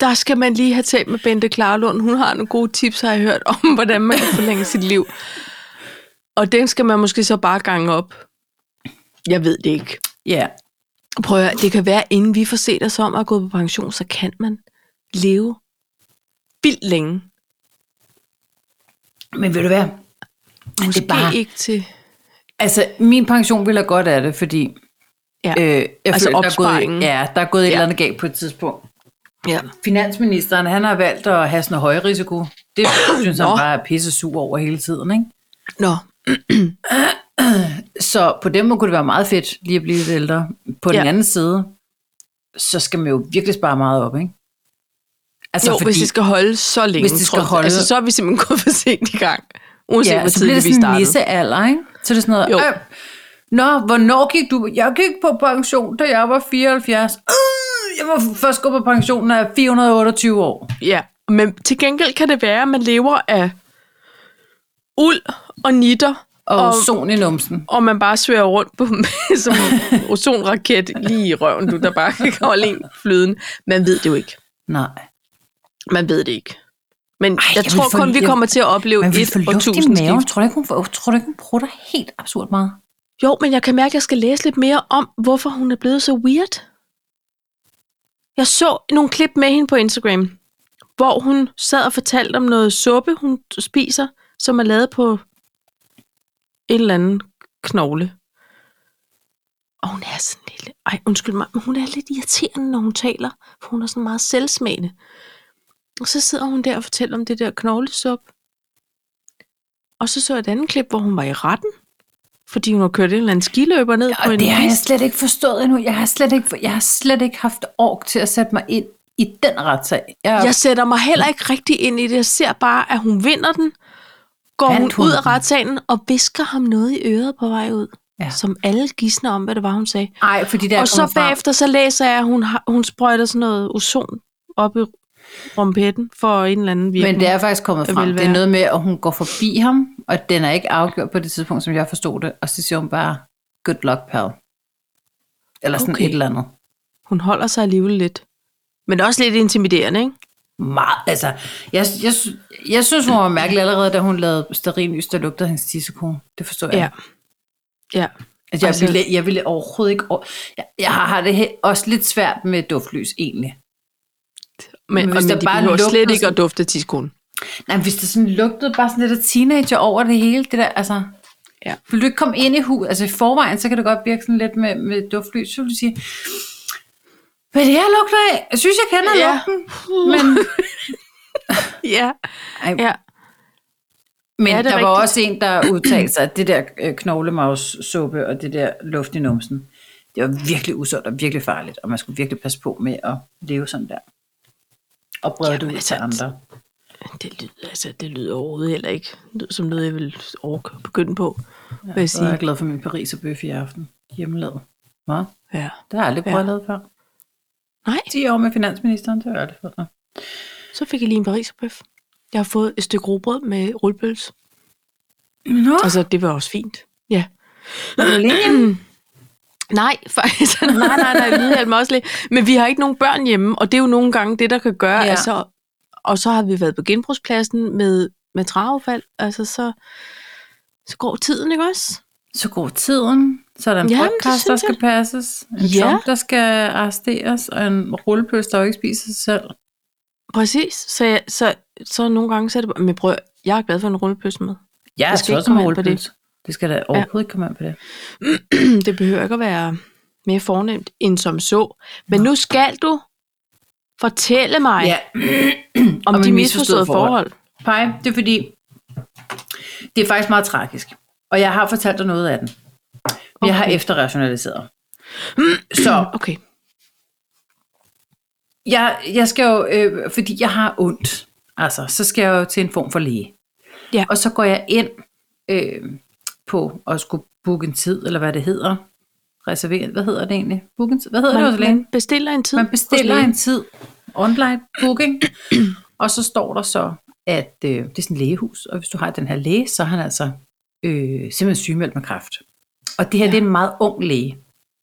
A: der skal man lige have talt med Bente Klarlund. Hun har nogle gode tips, har jeg hørt, om hvordan man kan forlænge sit liv. Og den skal man måske så bare gange op. Jeg ved det ikke.
B: Ja.
A: Prøv at høre, det kan være, inden vi får set os om at gå på pension, så kan man leve vildt længe.
B: Men ved du hvad?
A: Måske
B: det er bare...
A: ikke til...
B: Altså, min pension ville have godt af det, fordi...
A: Ja.
B: Øh, jeg
A: Altså
B: føler, der er
A: opsparingen.
B: gået, ja, der er gået et
A: Ja.
B: eller andet galt på et tidspunkt.
A: Ja.
B: Finansministeren, han har valgt at have sådan en høj risiko. Det synes han
A: Nå.
B: bare er pisse sur over hele tiden, ikke?
A: Nå,
B: Så på den måde kunne det være meget fedt lige at blive lidt ældre. På ja.
A: Ja.
B: den anden side, så skal man jo virkelig spare meget op, ikke? Altså,
A: jo, fordi, hvis det skal holde så længe,
B: hvis det
A: tror
B: skal
A: jeg.
B: holde-
A: altså, så er vi simpelthen gået for sent i gang. Uanset ja, hvor
B: så altså, bliver det
A: tidligt vi
B: sådan
A: startede.
B: en nissealder, ikke? Så er det sådan noget,
A: Jo.
B: øh, Nå, hvornår gik du? Jeg gik på pension, da jeg var 74. Øh, jeg var først gået på pension, når jeg er 428 år.
A: Ja, men til gengæld kan det være, at man lever af uld og nitter,
B: Og,
A: Og-
B: og son i numsen.
A: og man bare sværer rundt på med som en ozonraket lige i røven, du der bare kan holde en flyden. Man ved det jo ikke.
B: Nej.
A: Man ved det ikke. Men Ej, jeg,
B: jeg
A: jeg
B: vil
A: tror
B: få-
A: kun, vi
B: jeg-
A: kommer til at opleve
B: Men vi
A: et
B: får
A: og
B: luft i
A: tusind
B: maven.
A: skift.
B: Tror du ikke, hun, får- tror du ikke, hun prutter helt absurd meget?
A: Jo, men jeg kan mærke, at jeg skal læse lidt mere om, hvorfor hun er blevet så weird. Jeg så nogle klip med hende på Instagram, hvor hun sad og fortalte om noget suppe, hun spiser, som er lavet på en eller anden knogle. Og hun er sådan lille... Ej, undskyld mig, men hun er lidt irriterende, når hun taler, for hun er sådan meget selvsmagende. Og så sidder hun der og fortæller om det der knoglesup. Og så så jeg et andet klip, hvor hun var i retten, fordi hun har kørt en eller anden skiløber ned på
B: Og
A: en
B: det har jeg
A: pist.
B: slet ikke forstået endnu. Jeg har slet ikke, jeg har slet ikke haft ork til at sætte mig ind i den retssag. Jeg,
A: Jeg sætter mig heller ikke rigtig ind i det. Jeg ser bare, at hun vinder den, går hun,
B: Vandt hun
A: ud af
B: den?
A: retssalen og visker ham noget i øret på vej ud.
B: Ja.
A: Som alle gidsner om, hvad det var, hun sagde.
B: ej, fordi der
A: og så bagefter, så læser jeg, at hun, har, hun sprøjter sådan noget ozon op i rumpetten for en eller anden virkning.
B: Men det er faktisk kommet
A: Det
B: frem.
A: vil
B: Det er
A: være.
B: noget med, at hun går forbi ham, og den er ikke afgjort på det tidspunkt, som jeg forstod det. Og så siger hun bare, good luck, pal. Eller sådan
A: Okay.
B: okay. et eller andet.
A: Hun holder sig alligevel lidt. Men også lidt intimiderende, ikke?
B: Meget, altså, jeg, jeg, sy- jeg synes, hun var mærkelig allerede, da hun lavede stearinlys, der lugtede hendes tissekone. Det forstår jeg.
A: Ja. Ja.
B: Altså, jeg,
A: Altså-
B: altså, ville, jeg ville overhovedet ikke... Over, jeg, jeg har det he- også lidt svært med duftlys, egentlig.
A: Men, men,
B: hvis
A: men
B: der
A: de
B: bare
A: behøver
B: lugter
A: slet ikke
B: sådan-
A: at dufte tidskolen.
B: Nej, men hvis der sådan lugtede bare sådan lidt af teenager over det hele, det der, altså...
A: Ja.
B: Vil du ikke komme ind i huset? Altså i forvejen, så kan det godt virke sådan lidt med, med duftlys. Så vil du sige, hvad er det her lugter af? Jeg synes, jeg kender
A: Ja.
B: ja. lugten. Men,
A: Ja.
B: ej,
A: ja.
B: men
A: Ja,
B: ja,
A: det
B: der
A: er
B: var
A: rigtigt.
B: også en, der udtalte sig, at det der øh, knoglemavssuppe og det der luft i numsen, det var virkelig usundt og virkelig farligt, og man skulle virkelig passe på med at leve sådan der. Og brede det
A: Jamen,
B: ud
A: altså,
B: til andre.
A: Det lyder, altså, det lyder overhovedet heller ikke Det lyder som noget, jeg vil orke begynde på, ja, vil jeg
B: Så er jeg
A: sige.
B: glad for min Paris og bøf i aften. Hjemmelavet. Hvad?
A: Ja.
B: Det har jeg aldrig prøvet
A: Ja.
B: at lave før.
A: Nej,
B: 10 år med finansministeren, det har jeg aldrig fået. Nå.
A: så fik jeg lige en pariserbøf. Jeg har fået et stykke rugbrød med rullepøls.
B: Nå,
A: Altså, det var også fint. Ja.
B: er du alene?
A: Nej, faktisk. nej, nej, nej, vi hjælper mig også lidt. Men vi har ikke nogen børn hjemme, og det er jo nogle gange det, der kan gøre. Ja.
B: Ja.
A: Altså, og så har vi været på genbrugspladsen med, med travefald. Altså, så, så går tiden, ikke også?
B: Så går tiden, så er der en
A: Jamen,
B: Jamen,
A: det
B: podcast, der
A: synes
B: skal passes, en
A: Ja.
B: ja. Trump, der skal arresteres, og en rullepøs, der jo ikke spiser sig selv.
A: Præcis. Så, jeg, så, så nogle gange så er det bare, men prøv, jeg er glad for en rullepøls med.
B: Jeg er
A: Det skal
B: så
A: ikke
B: også en
A: komme an på det.
B: rullepøs. Det skal da overhovedet ikke komme an på det.
A: det behøver ikke at være mere fornemt end som så. Men nu skal du fortælle mig ja, om, om de misforståede forhold.
B: Pej, det er fordi, det er faktisk meget tragisk. Og jeg har fortalt dig noget af den. Okay. Jeg har
A: Okay.
B: efterrationaliseret. så
A: Okay.
B: jeg, jeg skal jo, øh, fordi jeg har ondt, altså, så skal jeg jo til en form for læge.
A: Ja.
B: Og så går jeg ind øh, på at skulle booke en tid, eller hvad det hedder. Reservere, hvad hedder det egentlig? Booke en tid? Hvad hedder det hos
A: Man,
B: lægen?
A: man bestiller en tid.
B: Man bestiller
A: hos lægen.
B: en tid online booking, og så står der så, at øh, det er sådan et lægehus, og hvis du har den her læge, så er han altså øh, simpelthen sygemeldt med kræft. Og det her, ja. det er en meget ung læge.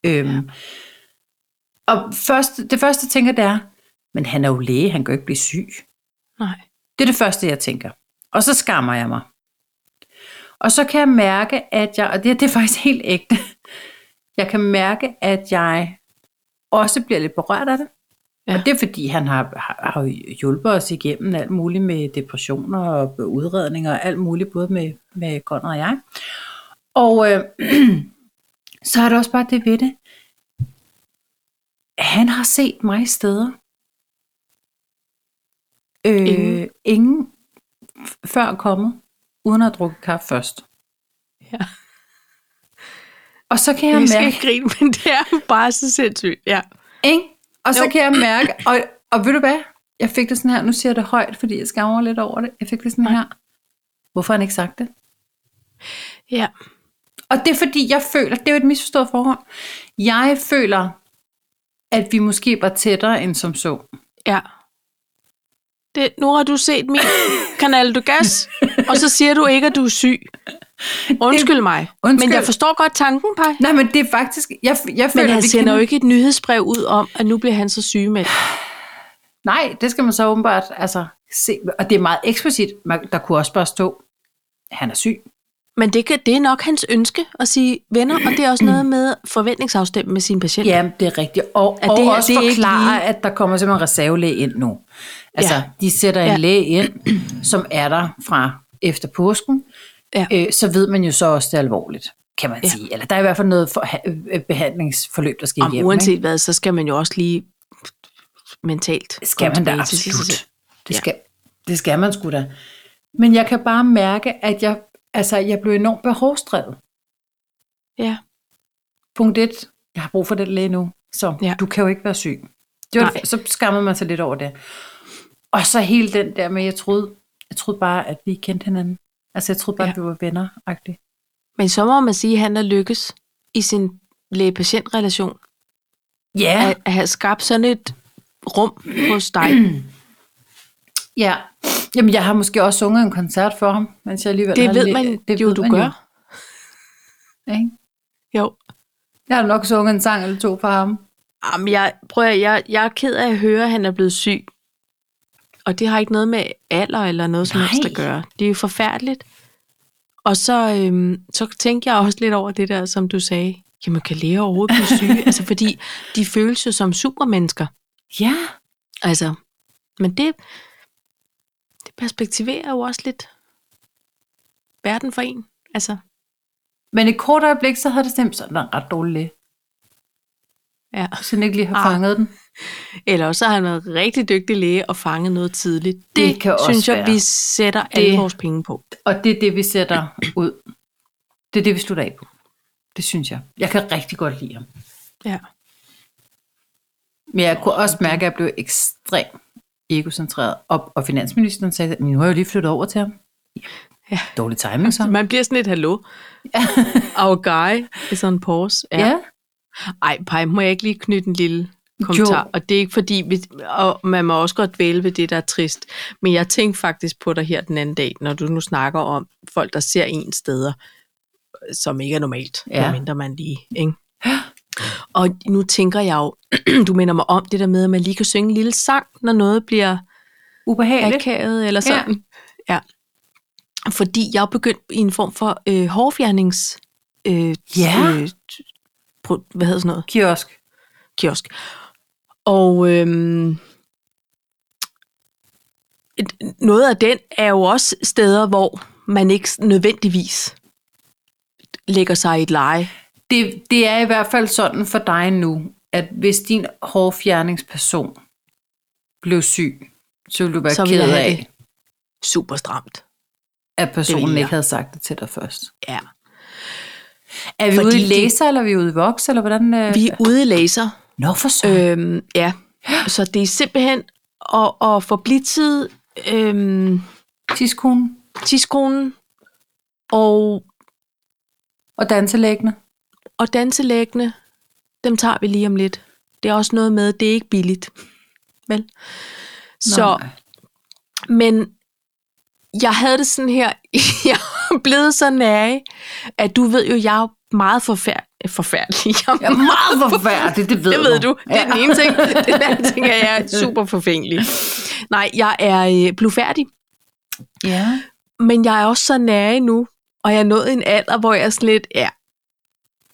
B: Øhm, ja. Og først, det første, jeg tænker, det er, men han er jo læge, han kan jo ikke blive syg.
A: Nej.
B: Det er det første, jeg tænker. Og så skammer jeg mig. Og så kan jeg mærke, at jeg, og det, her, det er faktisk helt ægte, jeg kan mærke, at jeg også bliver lidt berørt af det.
A: Ja.
B: Ja. Og det er fordi, han har, har, har hjulpet os igennem alt muligt med depressioner og udredninger og alt muligt, både med, med Gunnar og jeg. Og øh, så er det også bare det ved det. Han har set mig steder. Øh,
A: Ingen.
B: ingen. ingen f- før kommet, uden at have drukket kaffe først.
A: Ja.
B: Og så kan jeg,
A: Jeg skal
B: mærke,
A: ikke grine, men det er jo bare så sindssygt. Ja.
B: Ikke? Og så
A: Jo.
B: jo. kan jeg mærke, og, og ved du hvad? Jeg fik det sådan her, nu siger jeg det højt, fordi jeg skammer mig lidt over det. Jeg fik det sådan her. Hvorfor har han ikke sagt det?
A: ja.
B: Og det er fordi, jeg føler, det er jo et misforstået forhold. Jeg føler, at vi måske var tættere end som så.
A: Ja. Det, nu har du set min kanal du gas, og så siger du ikke, at du er syg. Undskyld mig. Undskyld. Men
B: Undskyld.
A: jeg forstår godt tanken, Paj.
B: Nej, men det er faktisk, jeg, jeg føler,
A: Men han
B: vi
A: sender
B: kan-
A: jo ikke et nyhedsbrev ud om, at nu bliver han så syg med.
B: Nej, det skal man så åbenbart altså, se. Og det er meget eksplicit. Man, der kunne også bare stå, han er syg.
A: Men det, kan, det er nok hans ønske at sige venner, og det er også noget med forventningsafstemme med sine patienter.
B: Ja, det er rigtigt. Og,
A: At det
B: og det
A: her,
B: også
A: det er ikke
B: forklare,
A: lige-
B: at der kommer simpelthen en reservelæge ind nu. Altså,
A: Ja.
B: ja. de sætter en
A: Ja.
B: ja. læge ind, som er der fra efter påsken.
A: Ja.
B: Øh, så ved man jo så også, det er alvorligt, kan man
A: Ja.
B: ja. sige. Eller der er i hvert fald noget for, øh, behandlingsforløb, der skal
A: Om
B: igennem.
A: uanset
B: ikke?
A: hvad, så skal man jo også lige mentalt
B: Skal
A: komme
B: man da
A: tilbage til sig selv.
B: absolut. Det
A: Ja.
B: skal, det skal man sgu da. Men jeg kan bare mærke, at jeg, altså, jeg blev enormt behovsdrevet.
A: Ja.
B: Punkt et, jeg har brug for den læge nu, så
A: Ja.
B: ja. du kan jo ikke være syg. Det var,
A: Nej.
B: så skammer man sig lidt over det. Og så hele den der med, jeg troede, jeg troede bare, at vi kendte hinanden. Altså, jeg troede bare,
A: Ja.
B: ja. at vi var venner -agtigt.
A: Men så må man sige, at han har lykkes i sin læge-patient-relation. Ja.
B: Ja,
A: At, at have skabt sådan et rum hos dig.
B: ja. Jamen, jeg har måske også sunget en koncert for ham, mens jeg alligevel
A: Det
B: har
A: ved
B: le-
A: man det jo,
B: ved
A: du
B: man
A: gør.
B: ikke?
A: Jo.
B: Jeg har nok sunget en sang eller to for ham.
A: Jamen, jeg, prøv at, jeg, jeg er ked af at høre, at han er blevet syg. Og det har ikke noget med alder eller noget som
B: Nej.
A: helst at gøre. Det er jo forfærdeligt. Og så, øhm, så tænkte jeg også lidt over det der, som du sagde. Jamen, kan læger overhovedet blive syge? altså, fordi de føles jo som supermennesker.
B: Ja.
A: Altså, men det, det perspektiverer jo også lidt verden for en. Altså,
B: Men et kort øjeblik, så havde det stemt sådan en ret dårlig læge.
A: ja.
B: Så den ikke lige har
A: Ah,
B: fanget den.
A: Eller også har han været rigtig dygtig læge og fanget noget tidligt. Det, det
B: kan
A: kan
B: også
A: synes jeg,
B: være.
A: vi sætter det. alle
B: Det-
A: vores penge på.
B: Og det er det, vi sætter ud. Det er det, vi slutter af på. Det synes jeg. Jeg kan rigtig godt lide ham.
A: Ja.
B: Men jeg kunne også mærke, at jeg blev ekstremt egocentreret. Og, og finansministeren sagde, men nu har jeg jo lige flyttet over til ham.
A: Ja.
B: Dårlig timing så.
A: Man bliver sådan lidt hallo. Our guy is on pause. Ja. ja. Ej, Paj, må jeg ikke lige knytte en lille kommentar? Jo.
B: Jo.
A: Og det er ikke fordi, vi, og man må også godt vælge ved det, der er trist. Men jeg tænkte faktisk på dig her den anden dag, når du nu snakker om folk, der ser en steder, som ikke er normalt,
B: Ja.
A: ja. mindre man lige, ikke? Og nu tænker jeg jo, du minder mig om det der med, at man lige kan synge en lille sang, når noget bliver
B: Ubehageligt.
A: akavet eller sådan. Ja. ja. Fordi jeg er begyndt i en form for øh, hårfjernings... Øh,
B: Ja.
A: Øh, t- pro- hvad hedder sådan noget?
B: Kiosk.
A: Kiosk. Og øhm, et- noget af den er jo også steder, hvor man ikke nødvendigvis lægger sig i et leje.
B: Det, det er i hvert fald sådan for dig nu, at hvis din hårfjerningsperson blev syg, så ville du være
A: Så
B: så
A: ville
B: ked
A: jeg have
B: af,
A: det. Super stramt.
B: at
A: Det
B: personen
A: ville jeg.
B: ikke havde sagt det til dig først.
A: Ja.
B: Er
A: Fordi
B: vi Fordi ude i
A: det-
B: laser, eller er vi ude i voks, eller hvordan? Øh...
A: Vi er ude i laser.
B: Nå, for så. Øh,
A: Øhm, ja, så det er simpelthen at, at få blitid, øhm,
B: Tidskonen
A: tidskonen og,
B: og danselæggene.
A: og danselæggene, dem tager vi lige om lidt. Det er også noget med, det er ikke billigt. Vel? Så,
B: Nej.
A: men jeg havde det sådan her, jeg er blevet så nære, at du ved jo, jeg er jo meget forfærdelig. øh, forfærdelig. Jeg er
B: Ja, meget forfærdeligt, det ved
A: Det ved du. Det er den ene ting. Den anden ting er, at jeg er super forfængelig. Nej, jeg er øh, blufærdig,
B: Ja.
A: men jeg er også så nære nu, og jeg er nået en alder, hvor jeg er sådan lidt, ja,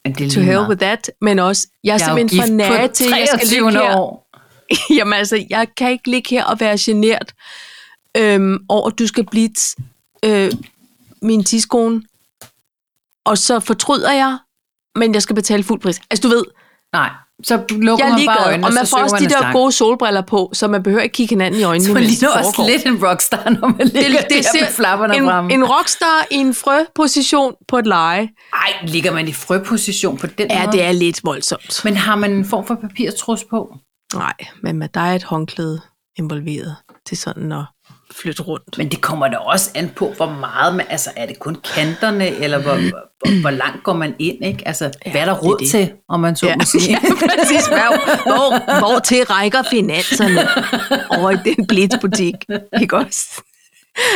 B: Men det er
A: to
B: lige
A: hell
B: meget.
A: with that, men også, jeg er,
B: Jeg er jo
A: simpelthen
B: gift
A: for nære
B: på
A: til, at jeg skal ligge
B: 23.
A: her.
B: år.
A: Jamen altså, jeg kan ikke ligge her og være genert øhm, over, at du skal blive øh, min tidskone, og så fortryder jeg, men jeg skal betale fuld pris. Altså du ved,
B: Nej, så lukker
A: jeg er
B: man bare
A: ligeglad,
B: øjnene,
A: og man
B: så
A: får også de
B: synger
A: der
B: man en
A: gode solbriller på, så man behøver ikke kigge hinanden i øjnene.
B: sang. Man
A: mens
B: ligner
A: det
B: også
A: foregår.
B: lidt en rockstar, når man ligger det, det der med flapperne
A: en,
B: fremme.
A: en rockstar i en frøposition på et leje.
B: Ej, ligger man i frøposition på den
A: Ja,
B: måde?
A: det er lidt voldsomt.
B: Men har man en form for papirtrus på?
A: Nej, men med dig er et håndklæde involveret til sådan at flytte rundt.
B: Men det kommer da også an på, hvor meget man... Altså, er det kun kanterne, eller hvor, hvor, hvor, hvor langt går man ind, ikke? Altså, ja, hvad er der
A: Mm. det er
B: råd
A: det.
B: det. til, om man så ja. må sige?
A: præcis. Hvor, hvor, hvor til rækker finanserne over i den blitzbutik? Ikke også?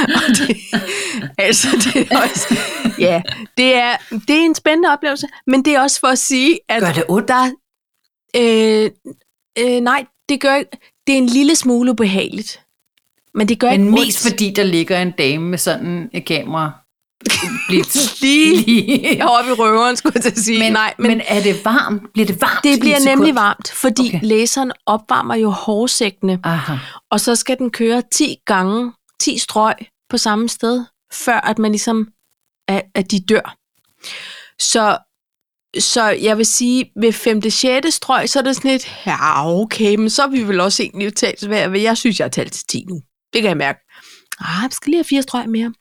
A: Og det, altså, det er også, ja, det er, det er en spændende oplevelse, men det er også for at sige, at
B: Gør det ondt?
A: der, øh, øh, nej, det gør ikke. Det er en lille smule ubehageligt. Men det gør
B: Men
A: ikke
B: mest
A: ondt.
B: fordi, der ligger en dame med sådan et kamera blidt.
A: Lige
B: Lige.
A: oppe i røveren, skulle jeg til at sige.
B: Men,
A: Nej, men,
B: men, men er det varmt? Bliver det varmt? i
A: det
B: et
A: bliver
B: sekund?
A: nemlig varmt, fordi
B: Okay.
A: okay. læseren opvarmer jo hårsækkene,
B: Aha.
A: og så skal den køre 10 gange, 10 strøg på samme sted, før at man ligesom, at, at de dør. Så, så jeg vil sige, ved 5. 6. strøg, så er det sådan lidt, ja okay, men så er vi vel også egentlig talt svært, jeg synes, jeg har talt til 10 nu. Det kan jeg mærke. Ah, vi skal lige have fire strøg mere.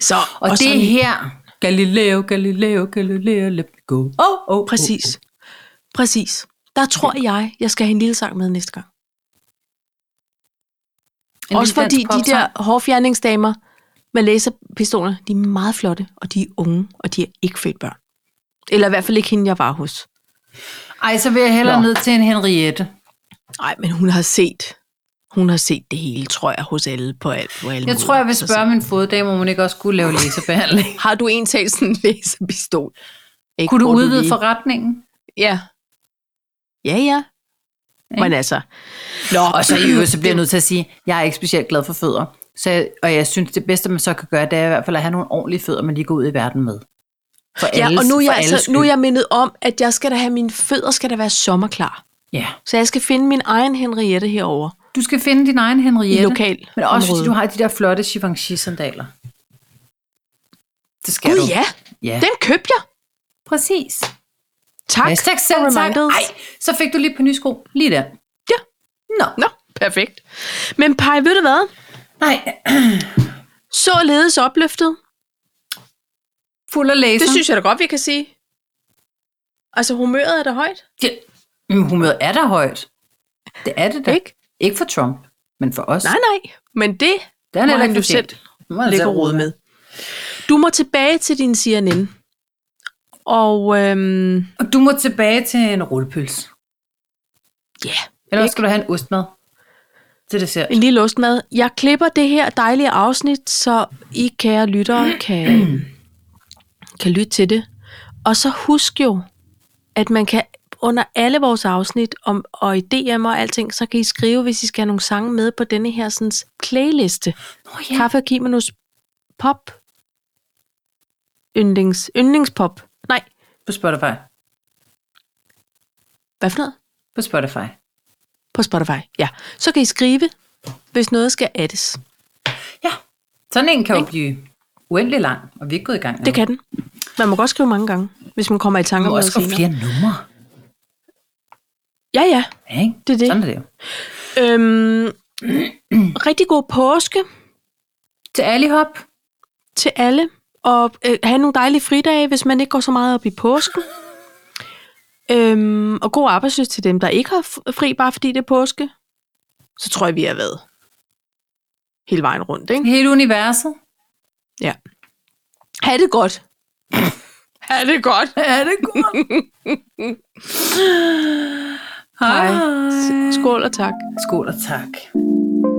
A: Så,
B: Og, og det
A: sådan-
B: her... Galileo, Galileo, Galileo, let me go. Åh, oh, oh,
A: Præcis. Præcis. Der tror jeg, jeg skal have en lille sang med næste gang.
B: En
A: Også
B: lille dansk
A: fordi de
B: popsang.
A: der hårfjerningsdamer med laserpistoler, de er meget flotte, og de er unge, og de er ikke født børn. Eller i hvert fald ikke hende, jeg var hos.
B: Ej, så vil jeg hellere
A: Nå.
B: ned til en Henriette.
A: Nej, men hun har set hun har set det hele, tror jeg, hos alle på alt. På alle
B: Jeg
A: måder.
B: tror, jeg vil
A: Altså,
B: spørge min foddame, om hun ikke også kunne lave laserbehandling.
A: Har du en talt sådan en laserpistol? Ikke,
B: kunne du
A: hvor
B: udvide
A: lige-
B: forretningen?
A: Ja. Ja, ja.
B: Ikke?
A: Men altså,
B: Nå, og så i øvrigt, så bliver jeg nødt til at sige, jeg er ikke specielt glad for fødder. Så, jeg- og jeg synes, det bedste, man så kan gøre, det er i hvert fald at have nogle ordentlige fødder, man lige går ud i verden med. For
A: ja, og nu er,
B: for
A: jeg,
B: alles
A: altså, nu er jeg mindet om, at jeg skal da have mine fødder, skal da være sommerklar.
B: skyld. Ja.
A: Så jeg skal finde min egen Henriette herover
B: Du skal finde din egen Henriette.
A: i lokal.
B: Men også fordi
A: område.
B: du har de der flotte Givenchy-sandaler. Det skal
A: Gud
B: du.
A: ja,
B: ja.
A: den købte jeg.
B: Præcis.
A: Tak
B: Hashtag selv tak.
A: reminders.
B: Ej, så fik du lige på nye sko. Lige der.
A: Ja.
B: Nå.
A: Nå, perfekt. Men Paj, ved du hvad?
B: Nej.
A: Således opløftet.
B: Fuld af laser.
A: Det synes jeg da godt, vi kan sige. Altså, humøret er da højt,
B: jeg. Men humøret er da højt. Det er det da.
A: ikke?
B: Ikke for Trump, men for os.
A: Nej, nej. Men det
B: Den
A: må
B: er
A: han jo selv lægge råd med. Du må tilbage til din CNN. Og øhm,
B: Og du må tilbage til en rullepølse.
A: ja,
B: Eller også skal du have en ostmad. Til dessert.
A: en lille ostmad. Jeg klipper det her dejlige afsnit, så I kære lyttere kan, kan lytte til det. Og så husk jo, at man kan under alle vores afsnit om, og i DM og alting, så kan I skrive, hvis I skal have nogle sange med på denne her sådan, playliste.
B: Nå
A: Ja. Kaffe og Kimenos pop. Yndlings, yndlingspop. Nej,
B: På Spotify.
A: hvad for noget?
B: På Spotify.
A: På Spotify, ja. Så kan I skrive, hvis noget skal addes.
B: Ja. Sådan en kan jo blive uendelig lang, og vi er ikke gået i gang.
A: Det kan den. Man må godt skrive mange gange, hvis man kommer i
B: man
A: tanker
B: må
A: om noget
B: også få
A: senere.
B: flere numre.
A: Ja, ja.
B: Ja, ikke?
A: Det er det.
B: Sådan er det jo.
A: Øhm, rigtig god påske
B: Til Alihop.
A: til alle, og øh, have nogle dejlige fridage, hvis man ikke går så meget op i påsken. Øhm, og god arbejdsløst til dem, der ikke har f- fri, bare fordi det er påske. Så tror jeg, vi har været hele vejen rundt, ikke?
B: Hele universet.
A: Ja. Ha' det godt. ha' det godt.
B: Ja, det er godt. hej.
A: Skål og tak.
B: Skål og tak.